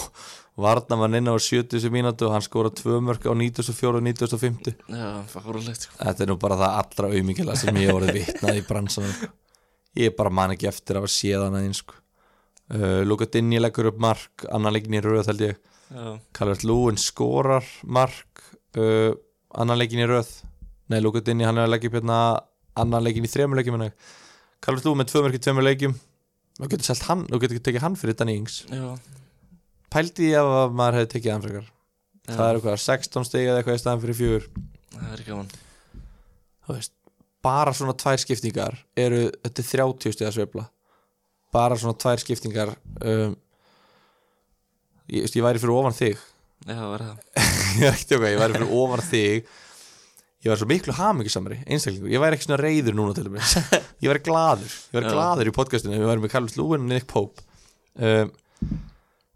Speaker 1: varnamann inn á 70 mínútu og hann skora tvö mörg á 94 og 95
Speaker 2: Já, fárulegt sko.
Speaker 1: Þetta er nú bara það allra auðmikila sem ég hef orðið vitnað í bransanum sko. Ég bara man ekki eftir að var séðan aðeins sko. uh, Luka Dinni leggur upp mark annan leikin í röð held ég
Speaker 2: Já,
Speaker 1: Calvert Lúin skorar mark uh, annan leikin í röð Nei, Luka Dinni hann er að leggja upp hérna annan leikin í þremur leikjum Calvert Lúin með tvö mörki í tveimur leikjum Þú getur selt hann, þú getur tekið hann fyrir Danny Ings
Speaker 2: já,
Speaker 1: Pældi ég ef að maður hefði tekið hann frekar
Speaker 2: já
Speaker 1: Það er eitthvað 16 stig eða eitthvað í staðan fyrir fjögur
Speaker 2: það er gaman
Speaker 1: þú veist, bara svona tvær skiptingar eru, þetta er 30 stíða sveifla bara svona tvær skiptingar um, ég, veist, ég væri fyrir ofan þig *laughs*
Speaker 2: Já, það var það
Speaker 1: ég er ekki okkar, ég væri fyrir ofan þig ég væri svo miklu hamingisamari einstaklingur, ég væri ekki svona reyður núna til dæmis ég væri gladur, ég væri
Speaker 2: Já.
Speaker 1: gladur í podcastinu við væri með Carlos Lúin og Nick Pope um,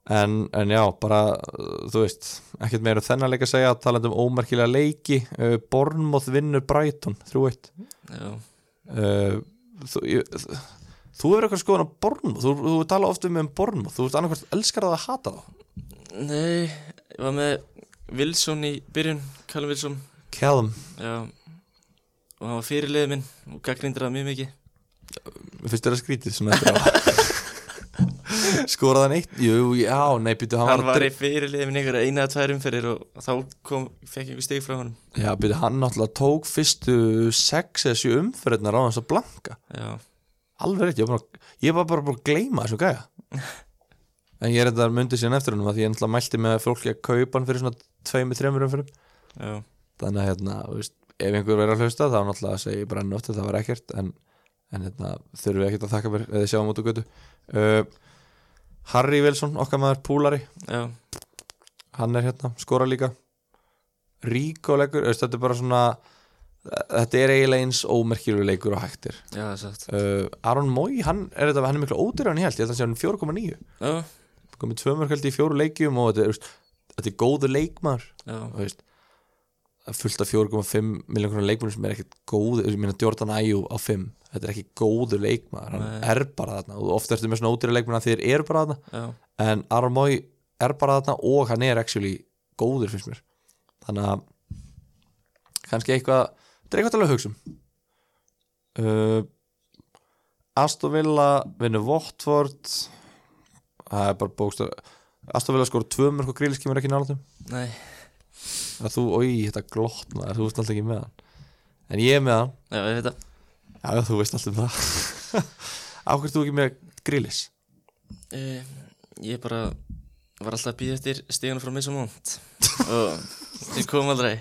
Speaker 1: en, en já, bara uh, þú veist, ekkert meira um þennan leik að segja talandi um ómerkilega leiki uh, Bornmoth vinnur Brighton 3-1
Speaker 2: Já,
Speaker 1: Uh, þú, ég, þú- þú hefur eitthvað skoðan á Bornmoth þú, þú tala oft um um Bornmoth þú ert annarkvæmt elskar það að hata þá
Speaker 2: nei, ég var með Wilson í byrjun, Callum Wilson
Speaker 1: Callum,
Speaker 2: Já, og hann var fyrirliðið minn og gaggrindir það mjög mikið
Speaker 1: finnst þér að skrítið svona eftir á *laughs* skoraði hann eitt jú, já, nei, býtu hann,
Speaker 2: Hann
Speaker 1: var
Speaker 2: var
Speaker 1: að
Speaker 2: í fyrirliðið minn einhverja eina að tvær umferðir og þá kom, fekk einhver stig frá honum
Speaker 1: dre- já, býtu hann náttúrulega tók fyrstu sex eða sjö umferðnar á hans að blanka
Speaker 2: Já,
Speaker 1: alveg rétt, ég var, bara, ég var bara búin að gleyma þessu *laughs* gæja en ég er þetta myndið síðan eftir hann því ég náttúrulega mælti með fólki að kaupa hann fyrir svona tveimur, þreimur umferðum
Speaker 2: já,
Speaker 1: þannig að hérna, þú veist, ef einhver verður að hlusta þá náttúrulega segi ég bara ennátt að það var ekkert en, en hérna, þurfum við ekkert að þakka mér eða sjáum út á götu uh, Harry Wilson, okkar maður púlari
Speaker 2: já,
Speaker 1: hann er hérna, skora líka Ríko leikur, þú veist, þetta er bara svona þetta er eiginlega eins ómerkilur leikur og hægtir
Speaker 2: já, það er satt
Speaker 1: uh, Aron Mói, hann er þetta hann er miklu ódýr en ég held, ég held að hann sé hann 4,9
Speaker 2: Já,
Speaker 1: komið tvö mörg held í fjóru leikjum og þetta er, þú veist, þetta er góðu leikmaður
Speaker 2: já,
Speaker 1: þú veist það er fullt af 4,5 miljón kronar leikmennir sem er ekkit góð, ég meina Jordan Ayew á 5 þetta er ekki góður leikmaður hann
Speaker 2: Nei.
Speaker 1: er bara þarna, og ofta ertu með svona ódýra leikmenn að þeir eru bara þarna,
Speaker 2: já,
Speaker 1: en Aron Mói er bara þarna og hann er actually góður finnst mér, þannig að kannski eitthvað þetta er eitthvað til að hugsa um uh, Aston Villa vinnur Votford það er bara bókstar Aston Villa skor 2 mörg og grílis kemur ekki nálatum
Speaker 2: nei,
Speaker 1: að þú, oi, þetta glottna þú veist alltaf ekki með hann en ég er með hann,
Speaker 2: já, ég veit það
Speaker 1: já, þú veist alltaf um það *laughs* ákvæmst þú ekki með grillis
Speaker 2: Eh, Ég bara var alltaf að býða eftir stíðan frá Missamont og þeir kom aldrei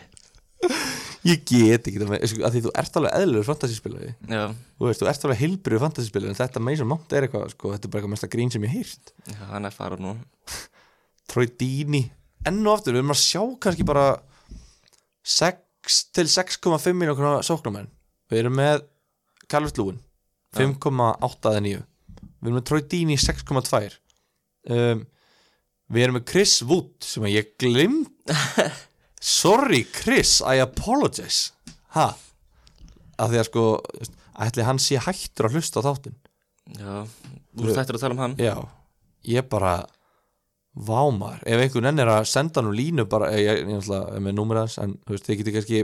Speaker 1: ég get ekki það með, sko, að því þú ert alveg eðlur fantasyspilari,
Speaker 2: Já,
Speaker 1: þú veist, þú ert alveg heilbriðu fantasyspilari, en þetta meisum mátt er eitthvað sko, þetta er bara eitthvað mesta grín sem ég hef heyrt
Speaker 2: já hann er farað nú
Speaker 1: Troy Dini, enn og aftur við erum að sjá kannski bara 6 til 6,5 miljón sóknumenn, við erum með Calvert Lúin, 5,8 eða 9, við erum með Troy Dini 6,2 um, við erum með Chris Wood sem að ég glimt sorry Chris, I apologize ha að því að sko, ætli hann sé hættur að hlusta á þáttinn
Speaker 2: Já, úr þættir að tala um hann
Speaker 1: Já, ég bara vámar, ef einhvern enn er að senda nú línu bara, eh, ég, ég, ég náttúrulega er með númur aðeins, en þú veist, þið getur kannski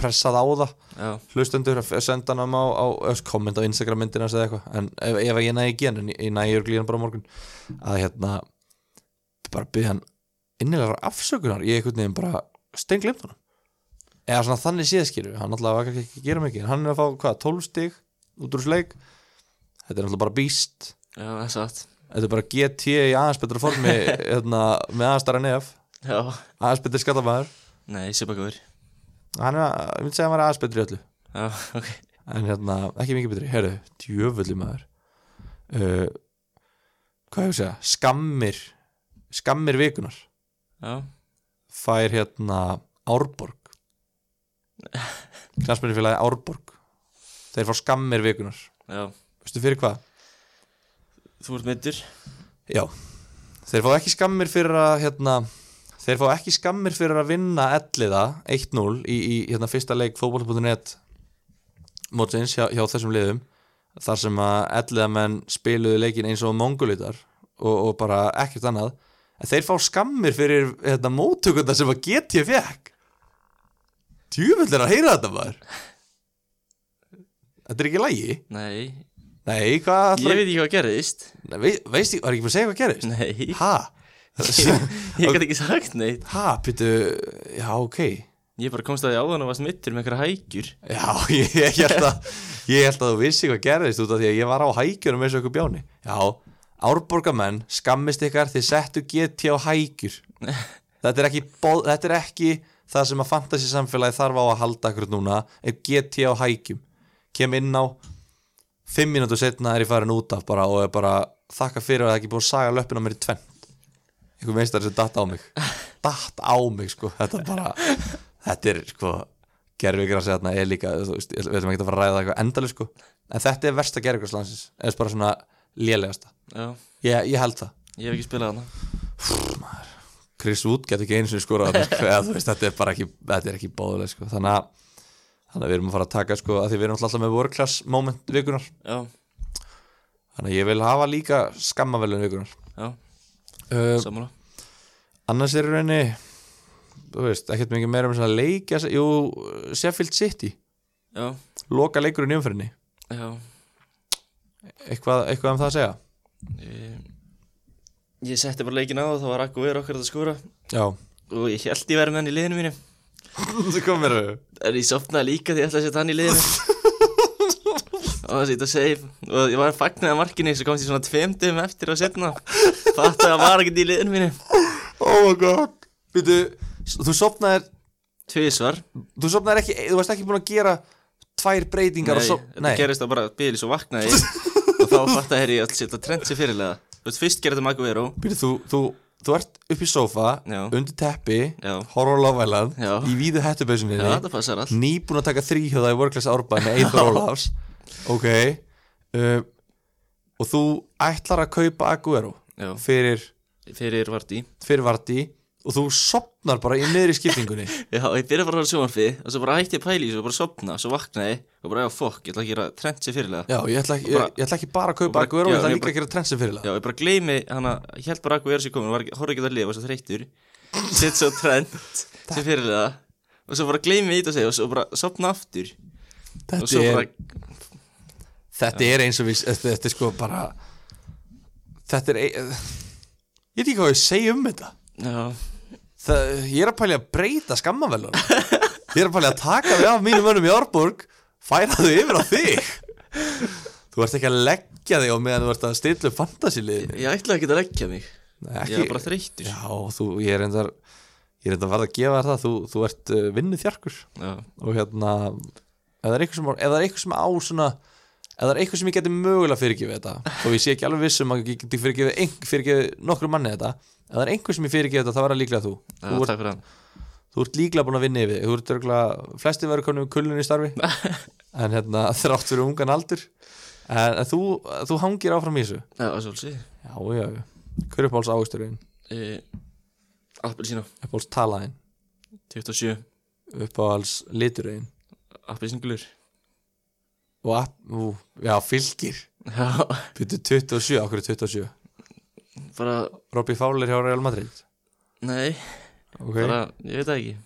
Speaker 1: pressað á það,
Speaker 2: Já,
Speaker 1: hlustendur að senda hann á, á öss, komment á Instagram myndina eða eitthvað, en ef, ef ég næði ekki hann en ég, ég næði örglíðan bara á morgun að hérna, bara byrja hann innilegar afsökunar ég einhvern veginn bara steinglemt hann eða svona þannig séðskilur, hann náttúrulega var kannski ekki að gera mikið, en hann er að fá hvað, 12 stig út úr sleik þetta er náttúrulega bara býst
Speaker 2: Já, það er satt
Speaker 1: þetta er bara GT í aðeins betra formi hérna, með aðeins starra nef
Speaker 2: Já,
Speaker 1: aðeins betri skallabæður
Speaker 2: nei, sé bara góður
Speaker 1: hann er, að- ég myndi segja að hann er aðeins betri í öllu
Speaker 2: Já, ok
Speaker 1: en hérna, ekki mikið betri herru, djöfulli maður uh, hvað ég að segja skammir, skammir vikunar
Speaker 2: Já,
Speaker 1: fær hérna Árborg knastmennifélagi Árborg þeir fá skammir vikunar
Speaker 2: já
Speaker 1: veistu fyrir hvað?
Speaker 2: Þú ert meittur
Speaker 1: Já, þeir fá ekki skammir fyrir að hérna, þeir fá ekki skammir fyrir að vinna elliða 1-0 í, í hérna, fyrsta leik fótboll.net mótsins hjá, hjá þessum liðum þar sem að elliðamenn spiluðu leikin eins og mongolitar og, og bara ekkert annað en þeir fá skammir fyrir hérna, móttökunda sem að get ég fekk djúvill er að heyra þetta maður Þetta er ekki lægi
Speaker 2: Nei,
Speaker 1: Nei, hvað
Speaker 2: ég veit ekki hvað gerðist
Speaker 1: Nei, vei- Veist ég, var ekki bara að segja hvað gerist?
Speaker 2: Nei, *laughs*
Speaker 1: Ha?
Speaker 2: ég gæti ekki sagt neitt
Speaker 1: Ha, pýttu, já, ok
Speaker 2: Ég bara komst að því áðan og varst meittur með einhverja hækjur
Speaker 1: Já, *laughs* ég, ég, held að, ég held að þú vissi hvað gerðist út af því að ég var á hækjunum eins og ykkur bjáni Já, árborgamenn, skammist ykkar, þið settu GT á hækjur Þetta er ekki, boð, þetta er ekki það sem að fantasy samfélagi þarf á að halda akkur núna er GT á hækjum Kem inn á, fimm mínútur setna er ég farin út af bara og er bara þakka fyrir að það er ekki búið að saga löppin á mér í tvennt Ykkur meistar sem datt á mig Datt á mig, sko, þetta er bara þetta er sko gerfigransi þarna er líka þú veist, ég- við ætlum ekki að fara að ræða það eitthvað endalið sko en þetta er versta gerfigranslandsins eða bara svona lélegasta
Speaker 2: Já,
Speaker 1: ég, ég held það
Speaker 2: ég hef ekki spilað hana
Speaker 1: Chris Wood getur ekki eins og skora þarna, sko, eða, þú veist, þetta er bara ekki, þetta er ekki bóðuleg sko þannig að Þannig að við erum að fara að taka sko að því við erum alltaf með world class moment vikunar
Speaker 2: Já,
Speaker 1: Þannig að ég vil hafa líka skammavelun vikunar
Speaker 2: já,
Speaker 1: uh,
Speaker 2: sammála
Speaker 1: Annars er í rauninni Þú veist, ekkert mikið meira um svona leikja Jú, Sheffield City
Speaker 2: Já,
Speaker 1: Loka leikurinn í umfyrinni
Speaker 2: já
Speaker 1: eitthvað, eitthvað um það að segja?
Speaker 2: Ég, ég setti bara leikin á og það var akku verið okkar að skora
Speaker 1: Já
Speaker 2: og ég held ég verið með hann í liðinu mínu
Speaker 1: *laughs* Þú komir þau
Speaker 2: En ég sopnaði líka því ég ætlaði að setja hann í liðinu Og það setja save Og ég var fagnað að markinu Svo komst ég svona tveim dögum eftir að setna Fatt að það var ekkert í liðinu mínu
Speaker 1: Oh my god Býtu, þú sopnaðir
Speaker 2: Tvísvar
Speaker 1: Þú sopnaðir ekki, þú varst ekki búin að gera Tvær breytingar
Speaker 2: Nei,
Speaker 1: og sop
Speaker 2: það gerist það bara Bílis og vaknaði ég. Og þá fatt að herri ég ætla að setja trend sér fyrirlega Þú veist, fyrst gerði Magu Veró
Speaker 1: Býtu, þú, þú, þú ert upp í sofa
Speaker 2: Já.
Speaker 1: Undir teppi
Speaker 2: Já.
Speaker 1: Horror Love Island
Speaker 2: Já.
Speaker 1: Í víðu hettubausinni
Speaker 2: Já, þetta passar allt
Speaker 1: Nýbúin að taka þríhjóða í Workless Árbæð Með *laughs* Eithor Ólafs Ok uh, Og þú ætlar að kaupa Aguero
Speaker 2: Já,
Speaker 1: Fyrir,
Speaker 2: fyrir Vardí
Speaker 1: fyrir Vardí Og þú sopnar bara í niður í skiptingunni
Speaker 2: Já, ég byrja bara að vera sjónarfi Og svo bara hætti ég pæli Svo bara sopna, svo vaknaði ég, Og bara, já, fokk, ég ætla að gera trend sér fyrirlega
Speaker 1: *laughs* Já, ég ætla, ekki,
Speaker 2: Bara-
Speaker 1: ég, ég ætla ekki bara að kaupa
Speaker 2: bara-
Speaker 1: Aguero
Speaker 2: já,
Speaker 1: Ég ætla
Speaker 2: ég
Speaker 1: líka
Speaker 2: bara-
Speaker 1: að gera trensin fyrir það
Speaker 2: Já, ég bara gleymi hana, ég held bara akkur verið sér komin, var ekki- horfði ekki að lifa, var svo þreyttur *laughs* Sett svo trend, sem fyrirlega Og svo bara gleymi í þetta og segja, og svo bara sopna aftur Og
Speaker 1: þetta
Speaker 2: svo
Speaker 1: er,
Speaker 2: bara,
Speaker 1: þetta er eins og við þetta, þetta er sko bara þetta er ein- ég veit ekki hvað ég segi um þetta
Speaker 2: já,
Speaker 1: það, ég er að pæli að breyta skammavelun ég er að pæli að taka við af mínum önum í Árborg færa þau yfir á þig þú ert ekki að leggja þig á meðan þú ert að stilla upp fantasiliðinu
Speaker 2: ég ætlaði ekki að leggja mig Ég var bara
Speaker 1: ekki,
Speaker 2: þreyttur
Speaker 1: já, þú, ég er endar ég er endar varð að gefa þér það þú, þú ert uh, vinnu þjarkur
Speaker 2: Já,
Speaker 1: og hérna ef það er eitthvað sem, á- ef það er eitthvað sem á svona ef það er eitthvað sem ég geti mögulega fyrirgefið þetta og ég sé ekki alveg vissum að ég geti fyrirgefið, ein, fyrirgefið nokkru manni þetta ef það er einhver sem ég fyrirgefið þetta þá verða líklega þú
Speaker 2: já,
Speaker 1: þú, ert,
Speaker 2: takk fyrir hann
Speaker 1: þú ert líklega búin að vinna yfir þig. þú ert örgulega, flesti verður konum kulun í
Speaker 2: *laughs*
Speaker 1: starfi en hérna *laughs* þrátt fyrir ungan aldur en, en þú, þú hangir áfram í þessu
Speaker 2: Já, það var svolítið
Speaker 1: já, já, já, hver uppáhalds águsturinn
Speaker 2: e, Appelsína,
Speaker 1: uppáhalds talaðin,
Speaker 2: 27
Speaker 1: uppáhalds liturinn
Speaker 2: Appelsínglur
Speaker 1: og, app- ú, já, fylgir
Speaker 2: Já,
Speaker 1: byrju 27, okkur 27
Speaker 2: bara,
Speaker 1: Robby Fowler hjá Real Madrid
Speaker 2: nei,
Speaker 1: Ok,
Speaker 2: bara, ég veit það ekki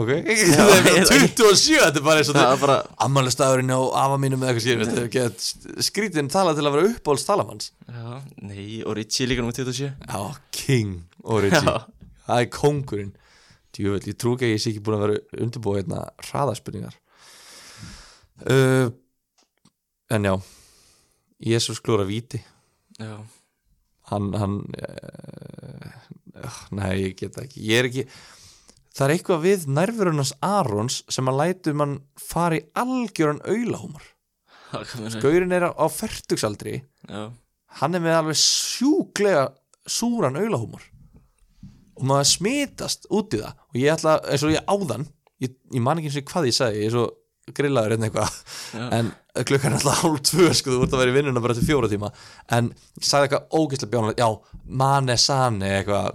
Speaker 1: ok *laughs*
Speaker 2: Já,
Speaker 1: Það er bara
Speaker 2: ég-
Speaker 1: 27, þetta er bara eins og
Speaker 2: Það
Speaker 1: þetta
Speaker 2: var bara,
Speaker 1: Ammælistagurinn á afa mínum eða eitthvað sér Þetta er ekki að skrítin tala til að vera uppbólst talamanns
Speaker 2: já, nei, og Ritchie líka nummer 27
Speaker 1: Já, King Origi
Speaker 2: Já,
Speaker 1: Það er kóngurinn Djúvel, ég trú ekki að ég sé ekki búin að vera undirbúið hérna hraðaspurningar uh, en já Jésús klúra víti
Speaker 2: Já,
Speaker 1: hann, hann uh, nei, ég get það ekki ég er ekki það er eitthvað við nærverunars Arons sem að lætu mann fara í algjöran auðlahúmar
Speaker 2: það kom mér
Speaker 1: Gaurin er á, á fertugsaldri
Speaker 2: Já,
Speaker 1: hann er með alveg sjúklega súran auðlahúmar og maður smitast út í það og ég ætla, eins og ég áðan ég, ég man ekki eins og hvað ég sagði, ég er svo grillaður hérna eitthvað
Speaker 2: já,
Speaker 1: en klukkan er alltaf hálf tvö sko, þú ert að vera í vinnuna bara til fjóra tíma en ég sagði eitthvað ógeðslega bjónulegt já, mane sane eitthvað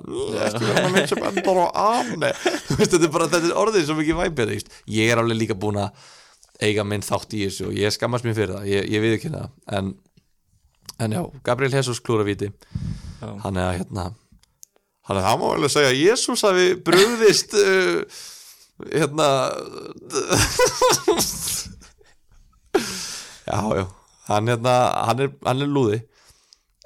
Speaker 1: ekki verið að minnsa bandar og ane þú veist, þetta er bara, þetta er orðið sem ekki væpið ég er alveg líka búin að eiga minn þátt í þessu og ég skammast mér fyrir það ég, ég við ekki það en, en já, Gabriel Jesus klúravíti
Speaker 2: já,
Speaker 1: hann er að hérna hann er það má alveg segja að Jésús hafi *laughs* brugðist uh, hérna *laughs* já, já hann, hérna, hann, er, hann er lúði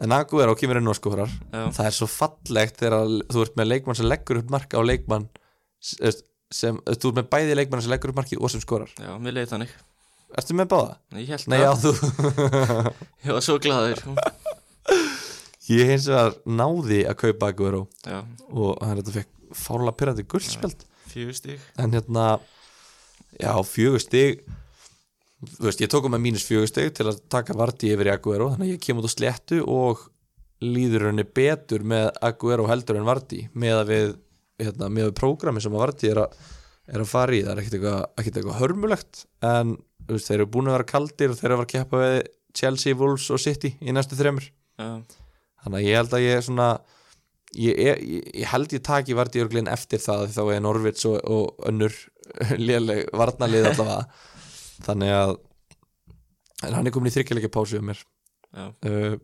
Speaker 1: en Agu er á kýmur inn og skórar
Speaker 2: já,
Speaker 1: það er svo fallegt þegar að þú ert með leikmann sem leggur upp marka og leikmann sem, sem, eh, þú ert með bæði leikmann sem leggur upp markið og sem skórar
Speaker 2: já, mér leiði þannig
Speaker 1: ertu með báða?
Speaker 2: Ég held
Speaker 1: Nei, já,
Speaker 2: það,
Speaker 1: þú
Speaker 2: *laughs*
Speaker 1: *laughs*
Speaker 2: ég var svo glaður
Speaker 1: ég hins vegar náði að kaupa Agu
Speaker 2: Já,
Speaker 1: og hann þetta fekk fárlega pyrrandi guldspjald
Speaker 2: fjögur stík
Speaker 1: en hérna já, fjögur stig þú veist, ég tók um að mínus fjögur stig til að taka varti yfir í Aguero þannig að ég kem út á sléttu og líður henni betur með Aguero heldur en varti með að við, hérna, með við prógrami sem að varti er að, er að fara í það er ekkert eitthvað, ekkert eitthvað hörmulegt en þú veist, þeir eru búin að vera kaldir og þeir eru að vera að keppa við Chelsea, Wolves og City í næstu þremur
Speaker 2: Já,
Speaker 1: þannig að ég held að ég er svona ég, er- ég, ég held ég taki varti örglinn eftir það því þá er Norvits og, og önnur *laughs* léleg varnalið allavega þannig að en hann er komin í þryggjuleika pásu hjá mér
Speaker 2: já,
Speaker 1: uh,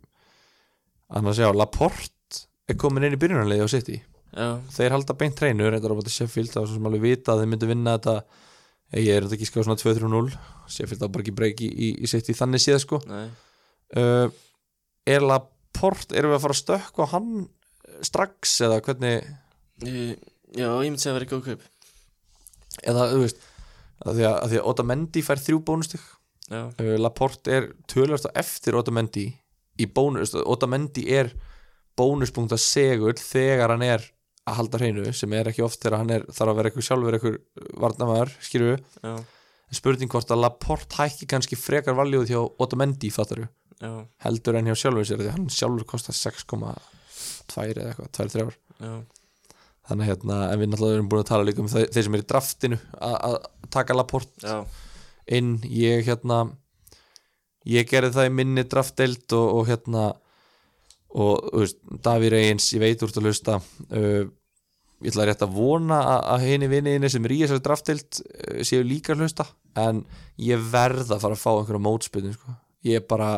Speaker 1: annars já, Laporte er komin inn í byrjunarliði á City
Speaker 2: já,
Speaker 1: þeir halda beint treinu, reyndar á bóti Sheffield það var svo sem alveg vita að þeir myndu vinna þetta ég er þetta ekki skáð svona 2-3-0 Sheffield á bara ekki breyki í, í City þannig séð sko
Speaker 2: nei
Speaker 1: uh, er Laporte, erum við að fara að stökka á hann eh, strax eða hvernig
Speaker 2: Ég- Já, ég myndi segja að vera góð kaup
Speaker 1: eða þú veist að því að, að, því að Otamendi fær þrjú bónustig
Speaker 2: Já,
Speaker 1: uh, Laporte er tölvast á eftir Otamendi í bónus, Otamendi er bónuspunkt að segul þegar hann er að halda hreinu sem er ekki oft þegar hann er, þarf að vera eitthvað sjálfur eitthvað varnamæður, skýrðu
Speaker 2: já,
Speaker 1: en spurning hvort að Laporte hækki kannski frekar valjóð hjá Otamendi, fattar
Speaker 2: já,
Speaker 1: heldur en hjá sjálfur sér því hann sjálfur kostar 6,2 eða eitthvað, 2-3 ár
Speaker 2: já,
Speaker 1: þannig að hérna, en við náttúrulega erum búin að tala líka um þau- þeir sem er í draftinu að að taka Laport
Speaker 2: já,
Speaker 1: inn ég hérna ég gerði það í minni draftdeild og, og hérna og þú veist, Davíð Reyins, ég veit úr að hlusta uh, ég ætla rétt að vona að, að henni vinniðinni sem er í þessari draftdeild uh, séu líka að hlusta en ég verð að fara að fá einhverja mótspilni sko. ég er bara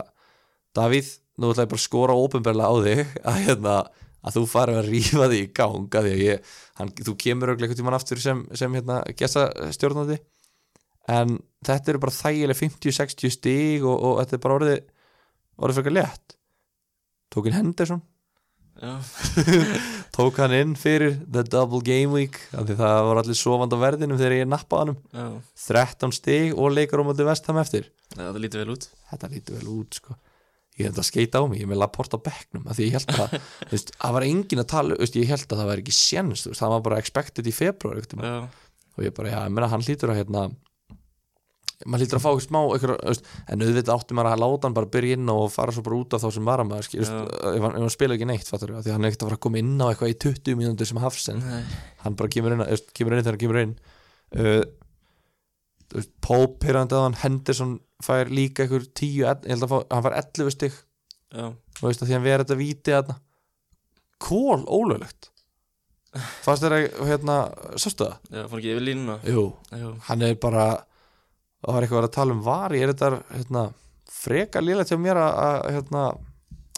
Speaker 1: Davíð, nú ætla ég bara að skora ópenbarlega á þig að, hérna, að þú farið að rífa þig í gang að því að ég, hann, þú kemur örugglega einhvern tímann aftur sem, sem hérna, gesta stjórnandi en þetta eru bara þægileg 50-60 stig og, og þetta er bara orðið orðið frekar létt tók inn Henderson,
Speaker 2: já,
Speaker 1: tók hann inn fyrir the double game week af því það var allir sofand á verðinum þegar ég nappaði honum
Speaker 2: já
Speaker 1: 13 stig og leikar á móti vestam eftir
Speaker 2: Já, það lítur vel út
Speaker 1: þetta lítur vel út sko ég hef þetta að skeita á mig, ég er með Laporte á bekknum af því ég held að, þú veist, það var engin að tala þú veist, ég held að það var ekki séns, þú veist, það var bara expected í februar,
Speaker 2: Já,
Speaker 1: og ég bara, já, ég meina, hann hlýtur að hérna, maður hlýtur að fá eitthvað smá eitthvað, veist, en auðvitað átti maður að láta hann bara byrja inn á og fara svo bara út af þá sem var að maður skil,
Speaker 2: Já.
Speaker 1: veist, ef, hann, ef hann spila ekki neitt, fattur við, því hann er ekkert að fara að koma inn á eitthvað í 20 mínútur sem hafsinn
Speaker 2: nei,
Speaker 1: hann bara kemur inn, veist, kemur inn þegar hann kemur inn uh, þú veist, Pope pyrrandi að hann Henderson fær líka einhver 10, ell- ég held að fá, hann fær 11 stig
Speaker 2: já,
Speaker 1: og veist að því hann verið þetta víti að kól ólöglegt fannst þér að hérna, sástu það?
Speaker 2: já, fór ekki yfir línuna
Speaker 1: Jú,
Speaker 2: Já,
Speaker 1: hann er bara það var eitthvað að tala um vari er þetta hérna, freka lélegt hjá mér að, að hérna,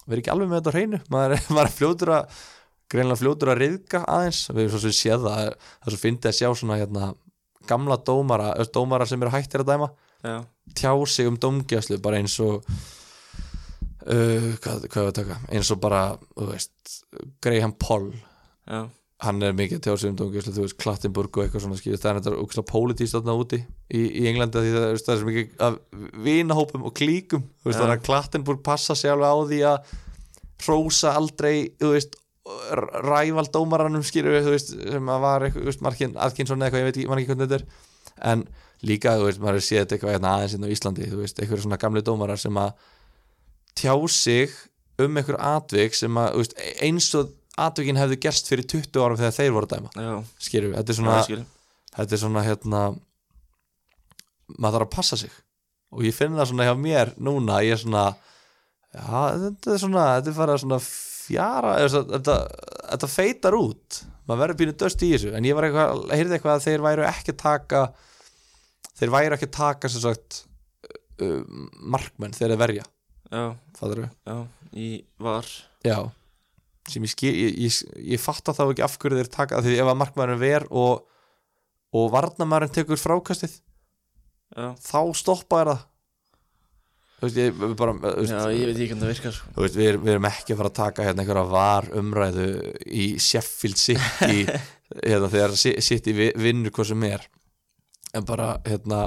Speaker 1: vera ekki alveg með þetta á hreinu maður, er- *laughs* maður er fljótur að greinlega fljótur að reyðka aðeins við erum svo sem séð það það er svo fyndið að sjá svona hérna, gamla dómara, öll dómara sem eru hættir að dæma
Speaker 2: já,
Speaker 1: tjá sig um dómgjöfslu bara eins og uh, hvað, hvað er að taka eins og bara þú veist, Graham Paul
Speaker 2: já,
Speaker 1: hann er mikið að tjá sig um dóngjuslega, þú veist, Klattenburg og eitthvað svona skýr, það er þetta ógislega pólitíst þarna úti í, í Englandi, af því það, þú veist, það er svo mikið af vinahópum og klíkum þú veist,
Speaker 2: Já.
Speaker 1: þannig að Klattenburg passa sig alveg á því að hrósa aldrei, þú veist rævaldómaranum skýr þú veist, sem að var, eitthvað, þú veist, Markin Atkinson eða eitthvað, ég veit ekki, man ekki hvernig þetta er en líka, þú veist, maður er séð þetta eitthvað hérna aðeins inn á Íslandi, þú veist, eitthvað svona gamli dómarar sem að tjá sig um einhver atvik sem að, þú veist, e-, eins og atvikin hefði gerst fyrir 20 árum þegar þeir voru að dæma
Speaker 2: já,
Speaker 1: skilur við, þetta er
Speaker 2: já,
Speaker 1: svona,
Speaker 2: ég skil.
Speaker 1: þetta er svona hérna, maður þarf að passa sig og ég finn það svona hjá mér núna, ég er svona já, þetta er svona, þetta er farið að svona fjara, eða svona, þetta, þetta feitar út, maður verður pínu döst í þessu, en ég var eitthvað, heyrði eitthvað að þeir væru ekki að taka þeir væru ekki að taka sem sagt uh, markmenn þegar þeir verja,
Speaker 2: já,
Speaker 1: fattar við
Speaker 2: já, í var
Speaker 1: Já sem ég, skil, ég, ég, ég fatta þá ekki af hverju þeir taka því ef að markmaðurinn ver og, og varnamaðurinn tekur frákastið
Speaker 2: já,
Speaker 1: þá stoppa er það þú veist, ég, við bara þú veist,
Speaker 2: já, ég veit ekki hvernig það virkar sko.
Speaker 1: þú veist, við, erum- við erum ekki að fara að taka hérna einhverja var umræðu í Sheffield City hérna, þegar Si- City vi- vinnur hvað sem er en bara hérna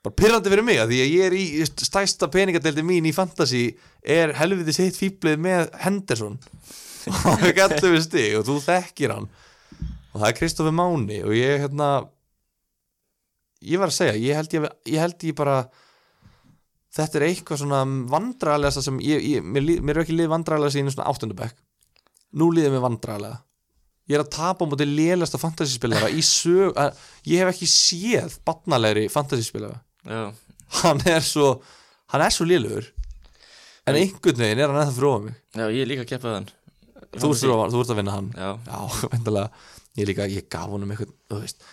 Speaker 1: bara pyrrandi fyrir mig að því að ég er í þú veist, stæsta peningadeldi mín í fantasy er helvitis hitt fýblið með Henderson og ekki allir við stig og þú þekkir hann og það er Kristoffer Máni og ég hérna ég var að segja, ég held ég, ég, held ég bara þetta er eitthvað svona vandrarlegasta sem ég, ég, mér, líð, mér er ekki lið vandrarlega síðan svona áttundabæk nú líður mér vandrarlega ég er að tapa á móti lélasta fantasyspilara í sög að, ég hef ekki séð batnalegri fantasyspilara
Speaker 2: já,
Speaker 1: hann er svo hann er svo lélugur en einhvern veginn er hann eða fyrir ofan mig
Speaker 2: já, ég er líka að keppa þann
Speaker 1: þú ert, fyrir ofan, þú ert að vinna hann
Speaker 2: já,
Speaker 1: já, *laughs* vendalega, ég líka, ég gaf honum eitthvað, þú veist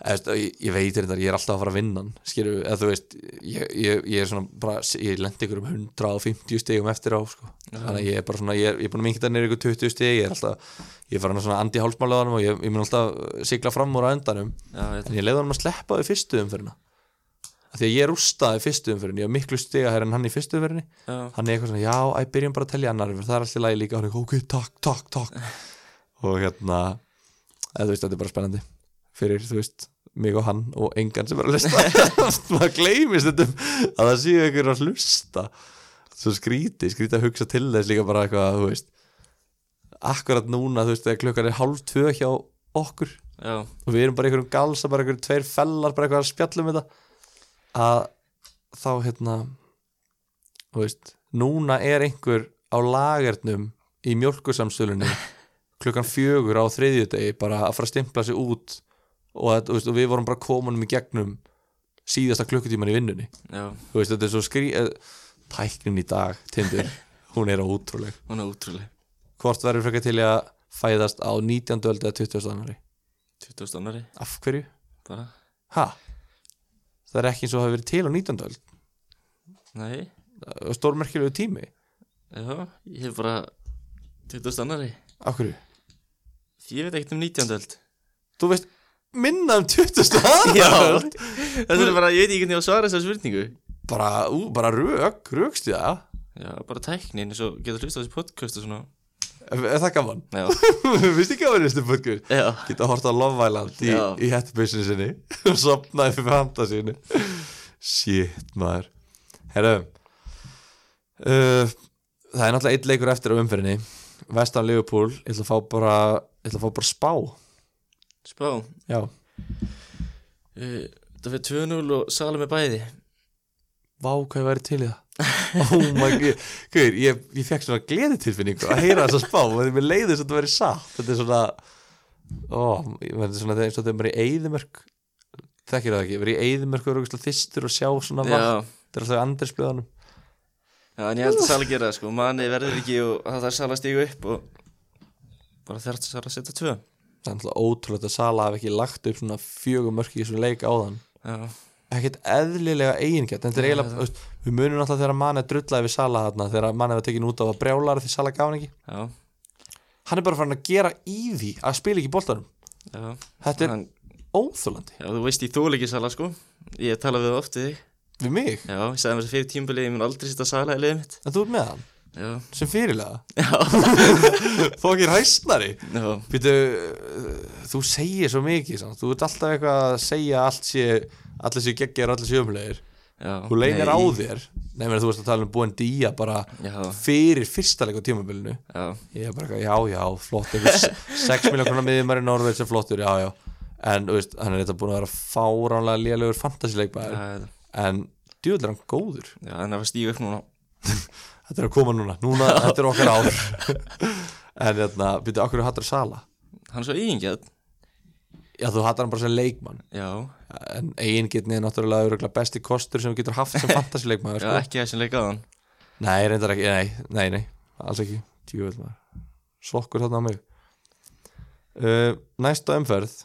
Speaker 1: eða, veist, ég, ég veit þetta, ég er alltaf að fara að vinna hann skilur, eða þú veist, ég, ég, ég er svona bara, ég lendi ykkur um 150 stegum eftir á, sko, þannig að ég er bara svona ég er, ég er búin að minkta neyri ykkur 20 steg ég er alltaf, ég er farin að svona andi hálsmálaðanum og ég, ég mun alltaf sigla fram úr á endanum
Speaker 2: já, ég veit
Speaker 1: en ég leiði honum að sleppa við fyrstu umferðina af því að ég rústaði fyrstu umferðin ég var miklu stiga en hann í fyrstu umferðinni
Speaker 2: já,
Speaker 1: hann er eitthvað svona, já, ég byrjum bara að telja annar umferð, það er alltaf lægi líka, hann er ok, takk, takk, takk og hérna eða þú veist, þetta er bara spennandi fyrir, þú veist, mig og hann og engan sem er að hlusta *laughs* maður gleymist þetta um að það séu einhver að hlusta svo skríti, skríti að hugsa til þess líka bara eitthvað, þú veist akkurat núna, þú veist, þegar klukkan er hálf tvö hjá okkur
Speaker 2: já,
Speaker 1: og við erum bara í einhverjum galsa, bara einhverjum tveir fellar bara eitthvað að spjallum þetta að þá hérna þú veist, núna er einhver á lagernum í mjölkusamsölunni klukkan fjögur á þriðjudegi bara að fara að stimpla sig út og, að, veist, og við vorum bara komunum í gegnum síðasta klukkutíman í vinnunni
Speaker 2: já,
Speaker 1: þú veist, þetta er svo skrí eh, tæknin í dag, tindur hún er ótrúleg
Speaker 2: hún er útrúlega
Speaker 1: hvort verður frekar til í að fæðast á 19. öld eða 20. annari
Speaker 2: 20. annari,
Speaker 1: af hverju?
Speaker 2: bara,
Speaker 1: Hæ? Það er ekki eins og það hefur verið til á 19. öld
Speaker 2: nei
Speaker 1: og stórmerkilegu tími
Speaker 2: já, ég hef bara 20. annari
Speaker 1: Af hverju?
Speaker 2: ég veit ekkert um 19. öld
Speaker 1: Þú veist minna um 20. öld
Speaker 2: *laughs* þetta er bara, ég veit ekki hvernig ég á að svara þessar spurningu
Speaker 1: bara, ú, bara rök, rökst ég það
Speaker 2: já, bara tæknin, eins og getur hlusta á þessi podcast og svona,
Speaker 1: Er er það gaman? *laughs*
Speaker 2: já,
Speaker 1: Vistu ekki að vera næstu podcast?
Speaker 2: já
Speaker 1: Geta að horta á Love Island í,
Speaker 2: Já.
Speaker 1: í hættubeysin sinni *laughs* og sopnaði fyrir handa sinni Shit, maður Herra uh, Það er náttúrulega eitt leikur eftir á umferðinni Vestan Liverpool, ég ætla að fá bara ég ætla að fá bara spá
Speaker 2: spá,
Speaker 1: Já,
Speaker 2: uh, það fyrir 2-0 og Salem er bæði
Speaker 1: Vá, hvað ég væri til í það *laughs* Oh my god Guður, ég, ég fekk svona gleðitilfinningu að heyra þess að spá og því mér leiði þess að þetta verið satt Þetta er svona ó, ég- Þetta er svona eins og þetta er bara í eyðimörk Þekkir það ekki, verið í eyðimörk og eru þystur og sjá svona vatn
Speaker 2: já,
Speaker 1: Þetta er alltaf í andirsblöðanum
Speaker 2: já, en ég held að Salem gera það sko, manni verður ekki og það þarf Salem að stígu upp og bara þarf Salem að setja 2
Speaker 1: Það er alltaf ótrúlegt að Sala hafi ekki lagt upp svona fjögum mörk í þessum leik áðan
Speaker 2: já,
Speaker 1: ekkert eðlilega eigingjarn þetta er eiginlega, þú veist, við munum alltaf þegar mann er drullaði við Sala þarna, þegar mann hefur tekin út á að brjálara því Sala gaf hann ekki
Speaker 2: já,
Speaker 1: hann er bara farin að gera í því að spila ekki boltanum
Speaker 2: já
Speaker 1: þetta er
Speaker 2: Hann,
Speaker 1: óþólandi
Speaker 2: já, þú veist ég þól ekki Salem sko ég tala við það oft við þig
Speaker 1: Við mig?
Speaker 2: já, ég sagði mér þess að fyrir tímbilið, ég mun aldrei setja Salem í liðið mitt
Speaker 1: En þú ert með hann?
Speaker 2: já,
Speaker 1: sem fyrirlega *laughs*
Speaker 2: já,
Speaker 1: Fokir hæstnari
Speaker 2: já,
Speaker 1: Býtu, þú segir svo mikið samt. Þú ert alltaf eitthvað að segja allt sé Allir séu geggjar, allir séu umlegir
Speaker 2: já
Speaker 1: Þú leynir
Speaker 2: Nei,
Speaker 1: á þér Nei, meni, þú veist að tala um búin dýja bara
Speaker 2: Já,
Speaker 1: fyrir fyrsta leik á tímabilinu
Speaker 2: já,
Speaker 1: Ég er bara eitthvað, já, já, flott einhver
Speaker 2: *laughs*
Speaker 1: 6 miljón krónar miðjumæri Norveit sem flottur, já, já En, þú veist, hann er þetta búin að vera fáránlega lélegur
Speaker 2: já,
Speaker 1: fantasileikmaður
Speaker 2: já,
Speaker 1: En, djúvel er hann góður
Speaker 2: já, hann er að stíga upp núna
Speaker 1: Þetta er að koma núna, núna, þetta er okkar ár En, hérna, þetta, byrju, akkur hattar Sala
Speaker 2: Hann er svo yfingjað,
Speaker 1: Já, þú hattar hann bara sem leikmann
Speaker 2: já,
Speaker 1: En eigingirni er náttúrulega örugglega besti kostur sem þú getur haft *laughs* sem fantasileikmaður
Speaker 2: já,
Speaker 1: sko.
Speaker 2: ekki þessin leikaðan
Speaker 1: Nei, reyndar ekki, nei, nei, nei Alls ekki, djúvel maður Sokkur þarna á mig uh, Næsta umferð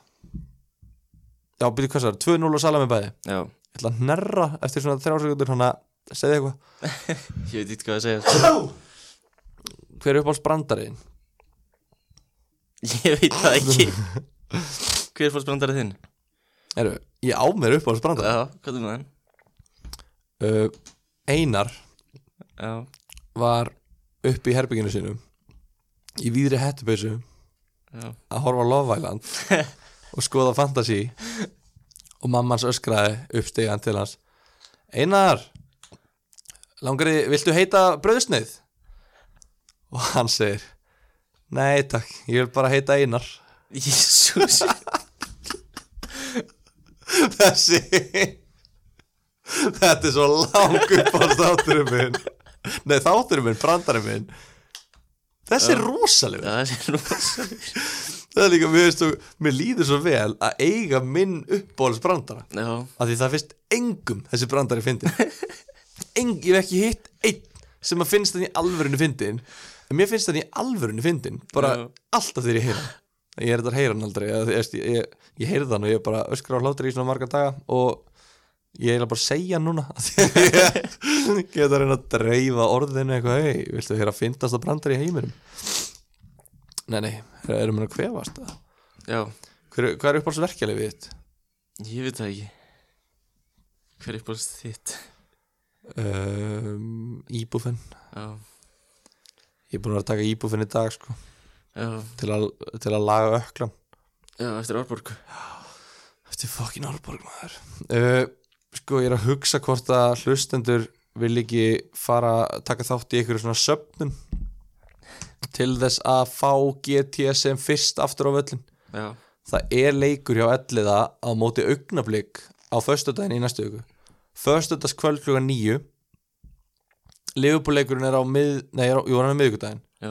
Speaker 1: Já, byrju hvað svar 2-0 og sala með bæði
Speaker 2: Já,
Speaker 1: Ég ætla að hnerra eftir svona þrjársekundur Hanna, segði eitthvað
Speaker 2: ég veit eitthvað að segja *laughs*
Speaker 1: Hver er uppáhalds brandariðin?
Speaker 2: Ég veit það ekki Hver fórst brandarið þinn?
Speaker 1: Eru, ég á mér uppáhalds brandari
Speaker 2: Já, hvað er með hann?
Speaker 1: uh, Einar
Speaker 2: Já,
Speaker 1: var upp í herbygginu sínum Í víðri hettupeysu
Speaker 2: já,
Speaker 1: að horfa á Love Island
Speaker 2: *laughs*
Speaker 1: og skoða fantasy og mamma hans öskraði uppstegan til hans Einar langar þið, viltu heita bröðsneið? og hann segir nei takk, ég vil bara heita Einar *laughs*
Speaker 2: jésús
Speaker 1: þessi þetta er svo lang upp á þátturum minn nei þátturum minn, brandarum minn þessi er rosalegur
Speaker 2: Já, það er rosa
Speaker 1: það er líka, mér, veist, þú- mér líður svo vel að eiga minn uppbólis brandara
Speaker 2: Já,
Speaker 1: að því það finnst engum þessi brandari fyndin Eng, ég hef ekki hitt einn sem að finnst hann í alvörinu fyndin en mér finnst hann í alvörinu fyndin bara
Speaker 2: Já.
Speaker 1: alltaf þegar ég heyra hann. ég er þetta að heyra hann aldrei ég, ég, ég, ég heyrði hann og ég bara öskra á hlátri í svona marga daga og ég er eiginlega bara að segja hann núna af því að ég *laughs* geta að reyna að dreifa orðinu eitthvað, hei, viltu heyra að fyndast að brandari í heiminum nei, nei, erum við að kvefast það
Speaker 2: já,
Speaker 1: Hver, hvað er uppáhaldsverkjalið við þitt?
Speaker 2: ég veit það ekki Hver er fórst þitt?
Speaker 1: Um, íbúfinn
Speaker 2: Já,
Speaker 1: Ég er búin að vera að taka íbúfinn í dag sko,
Speaker 2: já,
Speaker 1: til, að, til að laga öklan
Speaker 2: já, eftir Árborg
Speaker 1: Þetta er fokkin árborg maður uh, Sko ég er að hugsa hvort að hlustendur vil ekki fara að taka þátt í einhverju svona söfnun til þess að fá GTSM fyrst aftur á völlin
Speaker 2: Já,
Speaker 1: Það er leikur hjá elliða á móti augnablík á föstudaginn í næstu viku Föstudags kvöld klugan nýju Leifupúleikurinn er á mið, nei, er á, jú, hann er á miðvikudaginn
Speaker 2: já,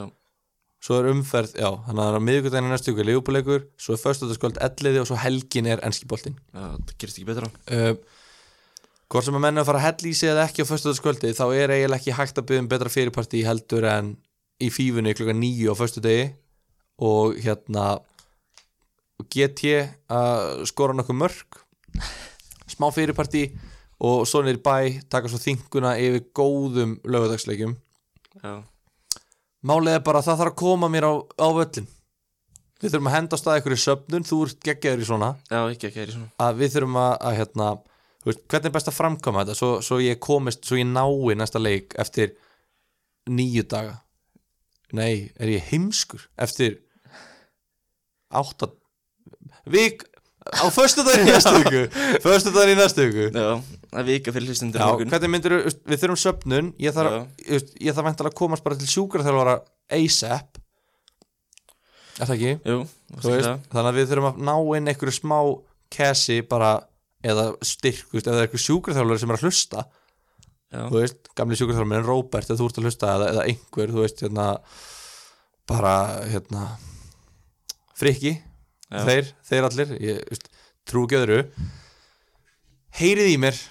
Speaker 1: svo er umferð, já, þannig að það er á miðvikudaginn í næstu ykkur leifupúleikur, svo er föstudagskvöld elliði og svo helgin er ennskiboltinn
Speaker 2: já, það gerist ekki betra
Speaker 1: uh, hvort sem að menna að fara að hella í sig eða ekki á föstudagskvöldi þá er eiginlega ekki hægt að byggja um betra fyrirparti heldur en í fífunni klukkan nýju á föstudegi og hérna get ég að skora nokkuð mörg smá fyrirparti og svo niður í bæ taka svo þinguna yfir góðum lögudagsleikjum
Speaker 2: Já,
Speaker 1: Málið er bara að það þarf að koma mér á, á völlin Við þurfum að henda á stað einhverju söfnun Þú ert geggjaður í svona
Speaker 2: já, ekki ekki er í svona
Speaker 1: að Við þurfum að, að hérna þú veist, Hvernig er best að framkoma þetta svo, svo ég komist, svo ég nái næsta leik Eftir nýju daga Nei, er ég heimskur Eftir Átta Vík, á föstudaginn í næstu viku Föstudaginn í næstu viku
Speaker 2: Já, það er vika fyrir hlustundur
Speaker 1: Já, hvernig myndir, við þurfum söfnun Ég þarf, þú veist, ég þarf væntanlega að komast bara til sjúkraþjálfara ASAP Er það ekki?
Speaker 2: Jú,
Speaker 1: Þú veist, þannig að við þurfum að ná inn einhverju smá kesi bara eða styrk, þú veist, ef það er einhver sjúkraþjálfari sem er að hlusta,
Speaker 2: Já,
Speaker 1: þú veist, gamli sjúkraþjálfari en Róbert, ef þú ert að hlusta eða, eða einhver, þú veist, hérna bara, hérna friki,
Speaker 2: Já.
Speaker 1: þeir þeir allir, ég, þú veist, trú ekki öðru heyrið í mér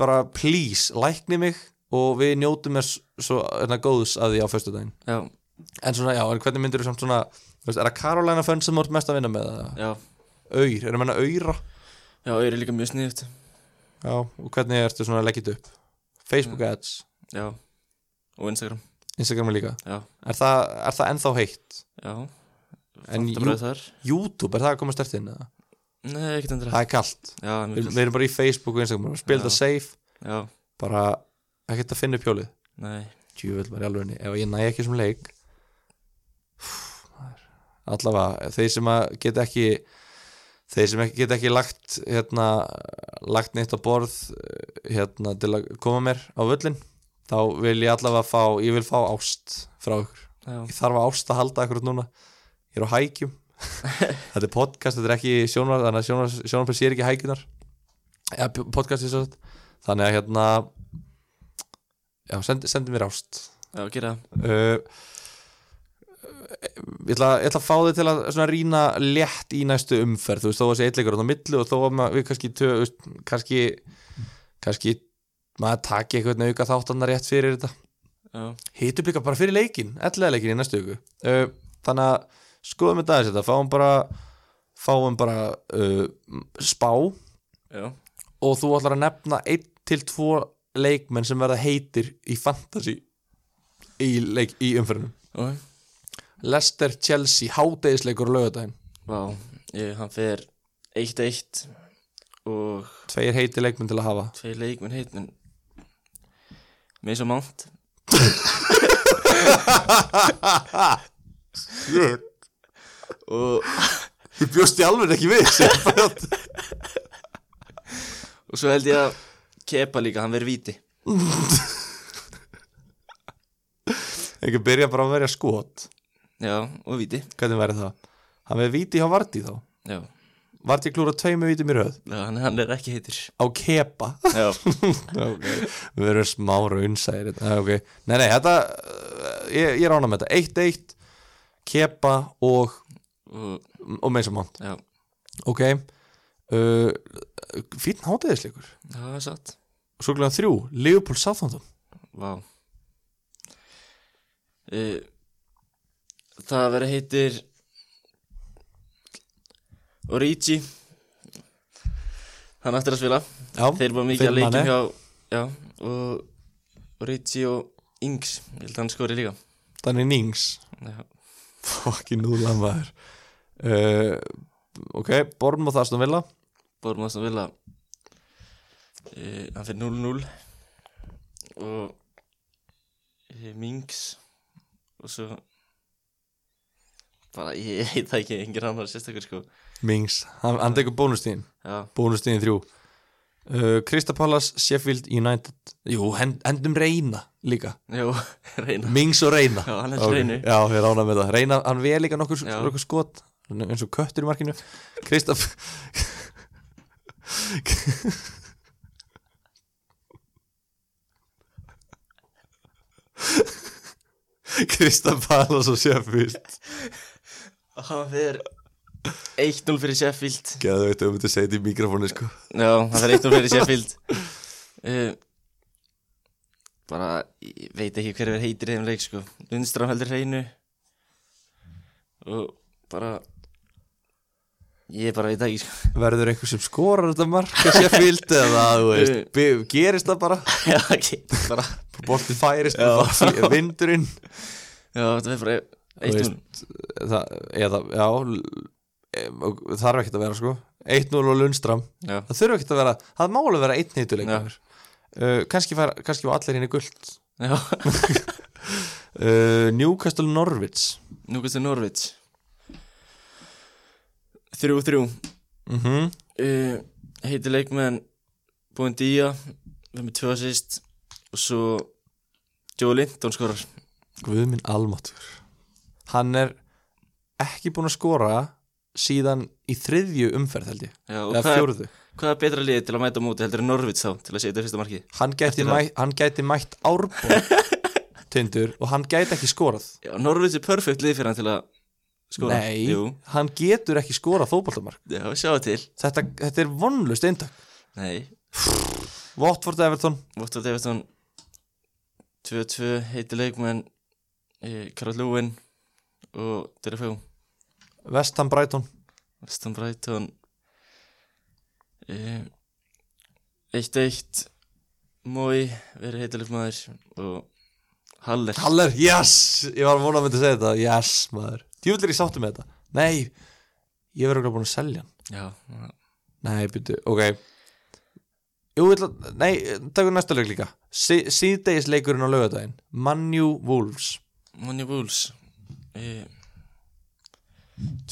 Speaker 1: bara please lækni mig og við njótum mér s- svo, hérna, góðs að því á föstudaginn
Speaker 2: já,
Speaker 1: En svona, já, en hvernig myndir þú samt svona þú veist, Er það Carolina fönn sem þú ert mest að vinna með það?
Speaker 2: já
Speaker 1: Öyr, er það menna öyra?
Speaker 2: Já, ég er líka mjög sniðut
Speaker 1: Já, og hvernig ertu svona að leggja þetta upp? Facebook
Speaker 2: Mm.
Speaker 1: ads,
Speaker 2: Já, og Instagram
Speaker 1: Instagram er líka
Speaker 2: Já,
Speaker 1: Er það, er það ennþá heitt?
Speaker 2: já
Speaker 1: En
Speaker 2: Það bara þar
Speaker 1: YouTube, er það að koma stert inn? eða?
Speaker 2: Nei, ekkert endra
Speaker 1: Það er kalt
Speaker 2: Já,
Speaker 1: Við,
Speaker 2: mjög
Speaker 1: við erum bara í Facebook og Instagram Spil
Speaker 2: Já.
Speaker 1: það safe,
Speaker 2: Já,
Speaker 1: bara ekkert að finna upp hjólið
Speaker 2: nei
Speaker 1: djúvel var í alvegni, ef ég næ ekki sem leik Úff, maður. allavega, þeir sem að geta ekki þeir sem ekki geta ekki lagt hérna, lagt neitt á borð eh, hérna, til að koma mér á völlin þá vil ég allavega fá ég vil fá ást frá ykkur
Speaker 2: já,
Speaker 1: ég þarf að ást að halda akkurat núna ég er á hækjum þetta er podcast, þetta er ekki sjónar þannig að sjónar, sjónarpæð sér ekki hækjunar ja, podcast er svo sagt. þannig að hérna já, sendi, sendi mér ást
Speaker 2: já, gera það
Speaker 1: uh, ég, ætla, ég ætla að fá þig til að svona rýna létt í næstu umferð þú veist, þó að sé eitleikur á milli og þó að ma- við kannski, tö, þú veist, kannski kannski maður taki eitthvað auka þáttanna rétt fyrir þetta
Speaker 2: já,
Speaker 1: hittum líka bara fyrir leikin, ellega leikin í næstu viku uh, þannig að skoðum við dagins þetta, fáum bara fáum bara uh, spá og
Speaker 2: já,
Speaker 1: þú ætlar að nefna einn til tvo leikmenn sem verða heitir í fantasy í, leik, í umfyrinu
Speaker 2: ok
Speaker 1: Leicester, Chelsea, hádegisleikur og laugardaginn,
Speaker 2: Vá, ég, hann fer 1-1 og
Speaker 1: tveir heiti leikmenn til að hafa
Speaker 2: tvei leikmenn heit en með svo mánt og,
Speaker 1: Þú bjóst í alveg ekki við *laughs* sem bara-
Speaker 2: og svo held ég að kepa líka, hann verið víti
Speaker 1: Ekki byrja bara að verja skot
Speaker 2: já, og víti
Speaker 1: Hvernig væri það? Hann veið víti hjá Vardí þá
Speaker 2: já,
Speaker 1: Vardí klúra tveimu vítum í röð
Speaker 2: já, hann, hann er ekki heitir
Speaker 1: á kepa
Speaker 2: já,
Speaker 1: okay. við erum smá raunsæðir okay. nei, nei, þetta uh, ég, ég rána með þetta, 1-1 kepa og
Speaker 2: og,
Speaker 1: og meins og mánt,
Speaker 2: já,
Speaker 1: ok uh, fín hátíðisleikur
Speaker 2: það er satt
Speaker 1: svo glæðan þrjú, Leopold Southampton
Speaker 2: Vá uh, Það verið heitir Origi Hann ættir að spila
Speaker 1: já,
Speaker 2: Þeir eru bara mikið að
Speaker 1: Fyrir
Speaker 2: leikja
Speaker 1: Mane.
Speaker 2: hjá Já, og Origi og Ings Ég held að hann skori líka
Speaker 1: þannig Nings
Speaker 2: Já,
Speaker 1: fokkin núla maður uh, ok, Borm og Þastum Villa
Speaker 2: Bórum að vilja uh, Hann fyrir 0-0 Og eh, Mings Og svo Bara, ég *laughs* heit það ekki Engir annar sérstakur sko
Speaker 1: Mings, hann, hann tekur bónustíðin
Speaker 2: Já,
Speaker 1: bónustíðin þrjú uh, Krista Pallas, Sheffield United jú, hend, hendum reyna líka
Speaker 2: já, *laughs* reyna
Speaker 1: Mings og Reyna
Speaker 2: Já, hann er
Speaker 1: Ok,
Speaker 2: Reynu.
Speaker 1: Já, ég rána með það Reyna, hann veið líka nokkur,
Speaker 2: Já.
Speaker 1: nokkur skot hann er eins og köttur í markinu Kristaf Kristaf Palas og Sheffield
Speaker 2: Hann fer 1-0 fyrir Sheffield
Speaker 1: Geðu veit, þau myndi segja þetta í mikrofónu sko
Speaker 2: Já, hann fer 1-0 fyrir Sheffield uh, Bara, ég veit ekki hver er heitir í þeim leik, sko Lundström heldur hreinu Og bara Ég bara veit það ekki, sko *laughs*
Speaker 1: Verður einhver sem skorar þetta marka Sheffield eða þú veist,
Speaker 2: Eh.
Speaker 1: bi- gerist það bara
Speaker 2: Já, ekki, bara
Speaker 1: Bortið færist bara fí- Vindurinn
Speaker 2: Já, þetta fer bara
Speaker 1: Þú
Speaker 2: 1-0
Speaker 1: það, eða, já l- e- og þarf ekkert að vera sko 1-0 og Lundstram,
Speaker 2: Já,
Speaker 1: það þurfa ekkert að vera það má alveg vera 1 nýtuleik
Speaker 2: Já.
Speaker 1: uh, kannski, fara- kannski var allir henni guld
Speaker 2: já
Speaker 1: uh, Newcastle Norwich
Speaker 2: Nú kannski Norvits 3-3
Speaker 1: mm
Speaker 2: uh, heiti leikmenn búinn Día við erum með tvö assist og svo Joe Linton skorar
Speaker 1: Guðminn Almatur hann er ekki búin að skora síðan í þriðju umferð held ég
Speaker 2: Já, og
Speaker 1: eða
Speaker 2: hvað,
Speaker 1: fjóruðu
Speaker 2: hvað er betra liðið til að mæta á móti heldur en Norvits þá til að setja fyrsta markið
Speaker 1: hann gæti,
Speaker 2: Eftir
Speaker 1: mæ,
Speaker 2: það.
Speaker 1: hann gæti mætt
Speaker 2: *laughs*
Speaker 1: árbóð tindur og hann gæti ekki skorað
Speaker 2: Já, Norvits er perfekt lið fyrir hann til að skora
Speaker 1: nei,
Speaker 2: Jú,
Speaker 1: hann getur ekki skorað fótballamark
Speaker 2: já, sjá til
Speaker 1: þetta, þetta er vonlust eintak
Speaker 2: Nei,
Speaker 1: Watford Everton
Speaker 2: Vottvar Davidson 2-2 heiti leikmenn uh, Karol Lúin og Derefjó
Speaker 1: West Ham Brighton
Speaker 2: Vestan Brighton Eh, 1-1 Mói verið heitileg maður og Haller
Speaker 1: Haller, yes, ég var vonað að mynda að segja þetta yes maður, djúvill er ég sáttu með þetta nei, ég verður ekki búin að selja hann
Speaker 2: Já,
Speaker 1: nei, byrju, ok jú, ætla, nei, takum næsta leik líka sí, síðdegisleikurinn á laugardaginn Manju Wolves
Speaker 2: Manni Wolves Eh,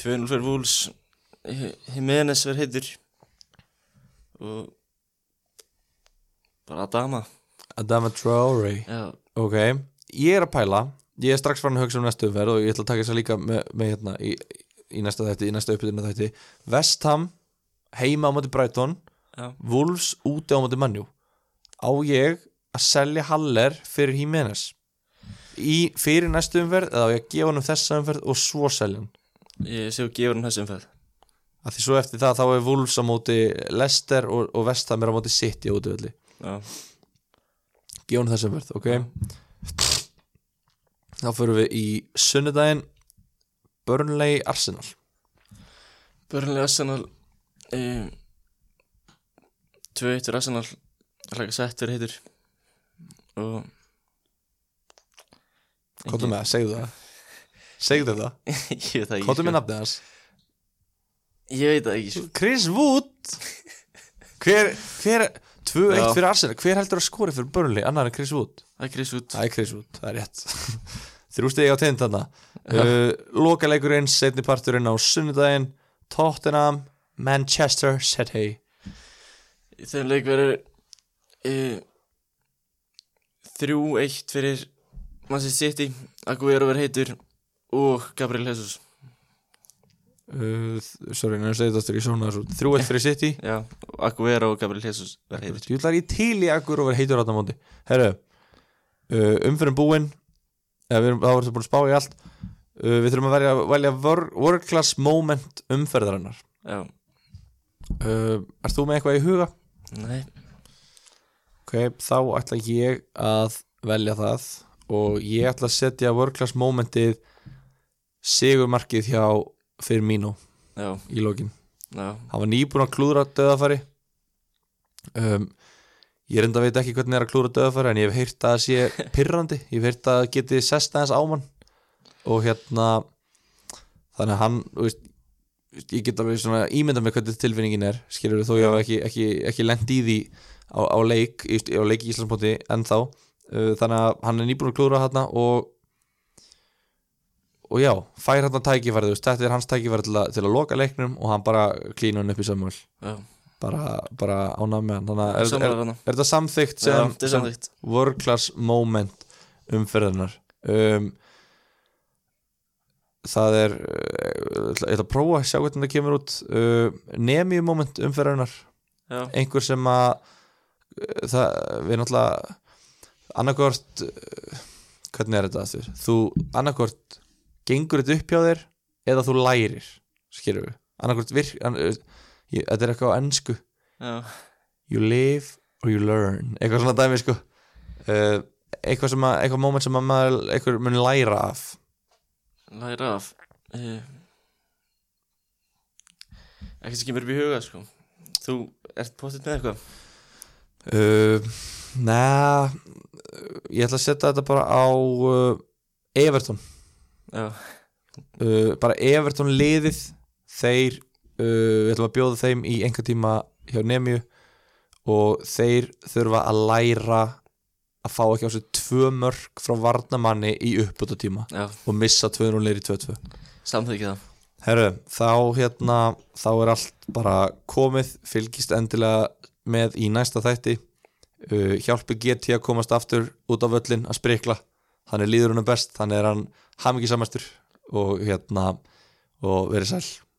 Speaker 2: 2-0 fyrir Wolves Eh, Jimenez verð heitur og bara dama
Speaker 1: Adama Traore
Speaker 2: já,
Speaker 1: Ok, ég er að pæla Ég er strax farin að hugsa um næstu umferð og ég ætla að taka þess að líka með, með hérna í, í næsta þætti, í næsta uppbytuna þætti Vestham, heima á móti Brighton
Speaker 2: já,
Speaker 1: Wolves úti á móti Manju Á ég að selja Haller fyrir Jimenez í, fyrir næstu umferð eða á ég að gefa hann um þessa umferð og svo selja hann
Speaker 2: ég sé og gefur hann þessum fæð
Speaker 1: að því svo eftir það þá er Wolves á móti Leicester og, og Vestham er á móti City á útivelli
Speaker 2: já,
Speaker 1: gefa hann þessum verð, ok þá förum við í sunnudaginn Burnley Arsenal
Speaker 2: Börnlega Arsenal eh, 2-1 fyrir Arsenal Rækka Sættur heitur og
Speaker 1: Kottu með það, segðu það segðu það,
Speaker 2: *laughs* ég veit það ekki
Speaker 1: kottu
Speaker 2: sko.
Speaker 1: með nafnið hans
Speaker 2: ég veit það ekki sko.
Speaker 1: Chris Wood hver, hver 2-1
Speaker 2: Já.
Speaker 1: fyrir Arsenal, hver heldur að skori fyrir Burnley annar en Chris Wood?
Speaker 2: það er Chris Wood
Speaker 1: Það er Chris Wood, það er rétt *laughs* Þrjú stegi á tind þarna uh, Lokaleikurinn, setni parturinn á sunnudaginn Tottenham, Manchester City
Speaker 2: Í þeim leik verður uh, 3-1 fyrir Manchester City Aguero verður heitur og Gabriel Jesus
Speaker 1: uh, sorry, nefnum segið þetta í svona þessu 3-1 fyrir City
Speaker 2: já, Aguero og Gabriel Jesus verður heitur
Speaker 1: Ég ætlar í til í akkur og verið heitur átna móti Herru, uh, umfyrir búinn eða við erum, þá erum við búin að spá í allt uh, Við þurfum að velja, velja wor- world class moment umferðarinnar
Speaker 2: já,
Speaker 1: uh, Ert þú með eitthvað í huga?
Speaker 2: nei,
Speaker 1: Ok, þá ætla ég að velja það og ég ætla að setja world class momentið sigurmarkið hjá fyrir mínu
Speaker 2: já,
Speaker 1: í lokin
Speaker 2: já
Speaker 1: hann var nýbúinn að klúðra döðafæri um, ég reynda veit ekki hvernig er að klúðra döðafæri en ég hef heyrt að það sé pirrandi ég hef heyrt að það geti sest aðeins ámann og hérna þannig að hann þú veist, ég get alveg svona ímynda með hvernig tilfinningin er skilur þó ég hef ekki, ekki, ekki lent í því á, á leik í- á leik í Íslandsbóti ennþá Uh, þannig að hann er nýbúinn að klúðra þarna og og já, fær hann að tækifæri þú veist, þetta er hans tækifæri til, að- til að loka leiknum og hann bara klína hann upp í sammál
Speaker 2: já,
Speaker 1: bara, bara ánað með hann þannig að er, er,
Speaker 2: samar hana
Speaker 1: er þetta samþykkt
Speaker 2: já,
Speaker 1: sem,
Speaker 2: þetta er
Speaker 1: sem
Speaker 2: samþýtt
Speaker 1: world class moment umferðinar um, það er uh, ég ætla að prófa að sjá hvernig það kemur út uh, nemi moment umferðinar
Speaker 2: já,
Speaker 1: einhver sem að uh, það, við náttúrulega annarkvort eh, hvernig er þetta aftur? Þú annarkvort gengur þetta upp hjá þér eða þú lærir, skilur við annarkvort virk, an, uh, ég, þetta er eitthvað á ennsku
Speaker 2: já,
Speaker 1: you live or you learn eitthvað svona dæmi sko uh, eitthvað sem að, eitthvað moment sem að maður eitthvað mun læra af
Speaker 2: læra af uh, ekkert sem kemur upp í huga sko þú ert pottitt með eitthvað
Speaker 1: uh, neða ég ætla að setja þetta bara á uh, Everton
Speaker 2: já,
Speaker 1: uh, bara Everton liðið þeir, uh, við ætlum að bjóða þeim í einhver tíma hjá Nemju og þeir þurfa að læra að fá ekki á sig tvö mörg frá varnamanni í uppbúta tíma
Speaker 2: já,
Speaker 1: og missa 200 leir í 2-2
Speaker 2: samþykja það
Speaker 1: Herru, þá hérna þá er allt bara komið fylgist endilega með í næsta þætti uh, hjálpi GT að komast aftur út af öllin að sprikla, þannig líður hann best þannig er hann hamingisamastur og hérna og verið sæl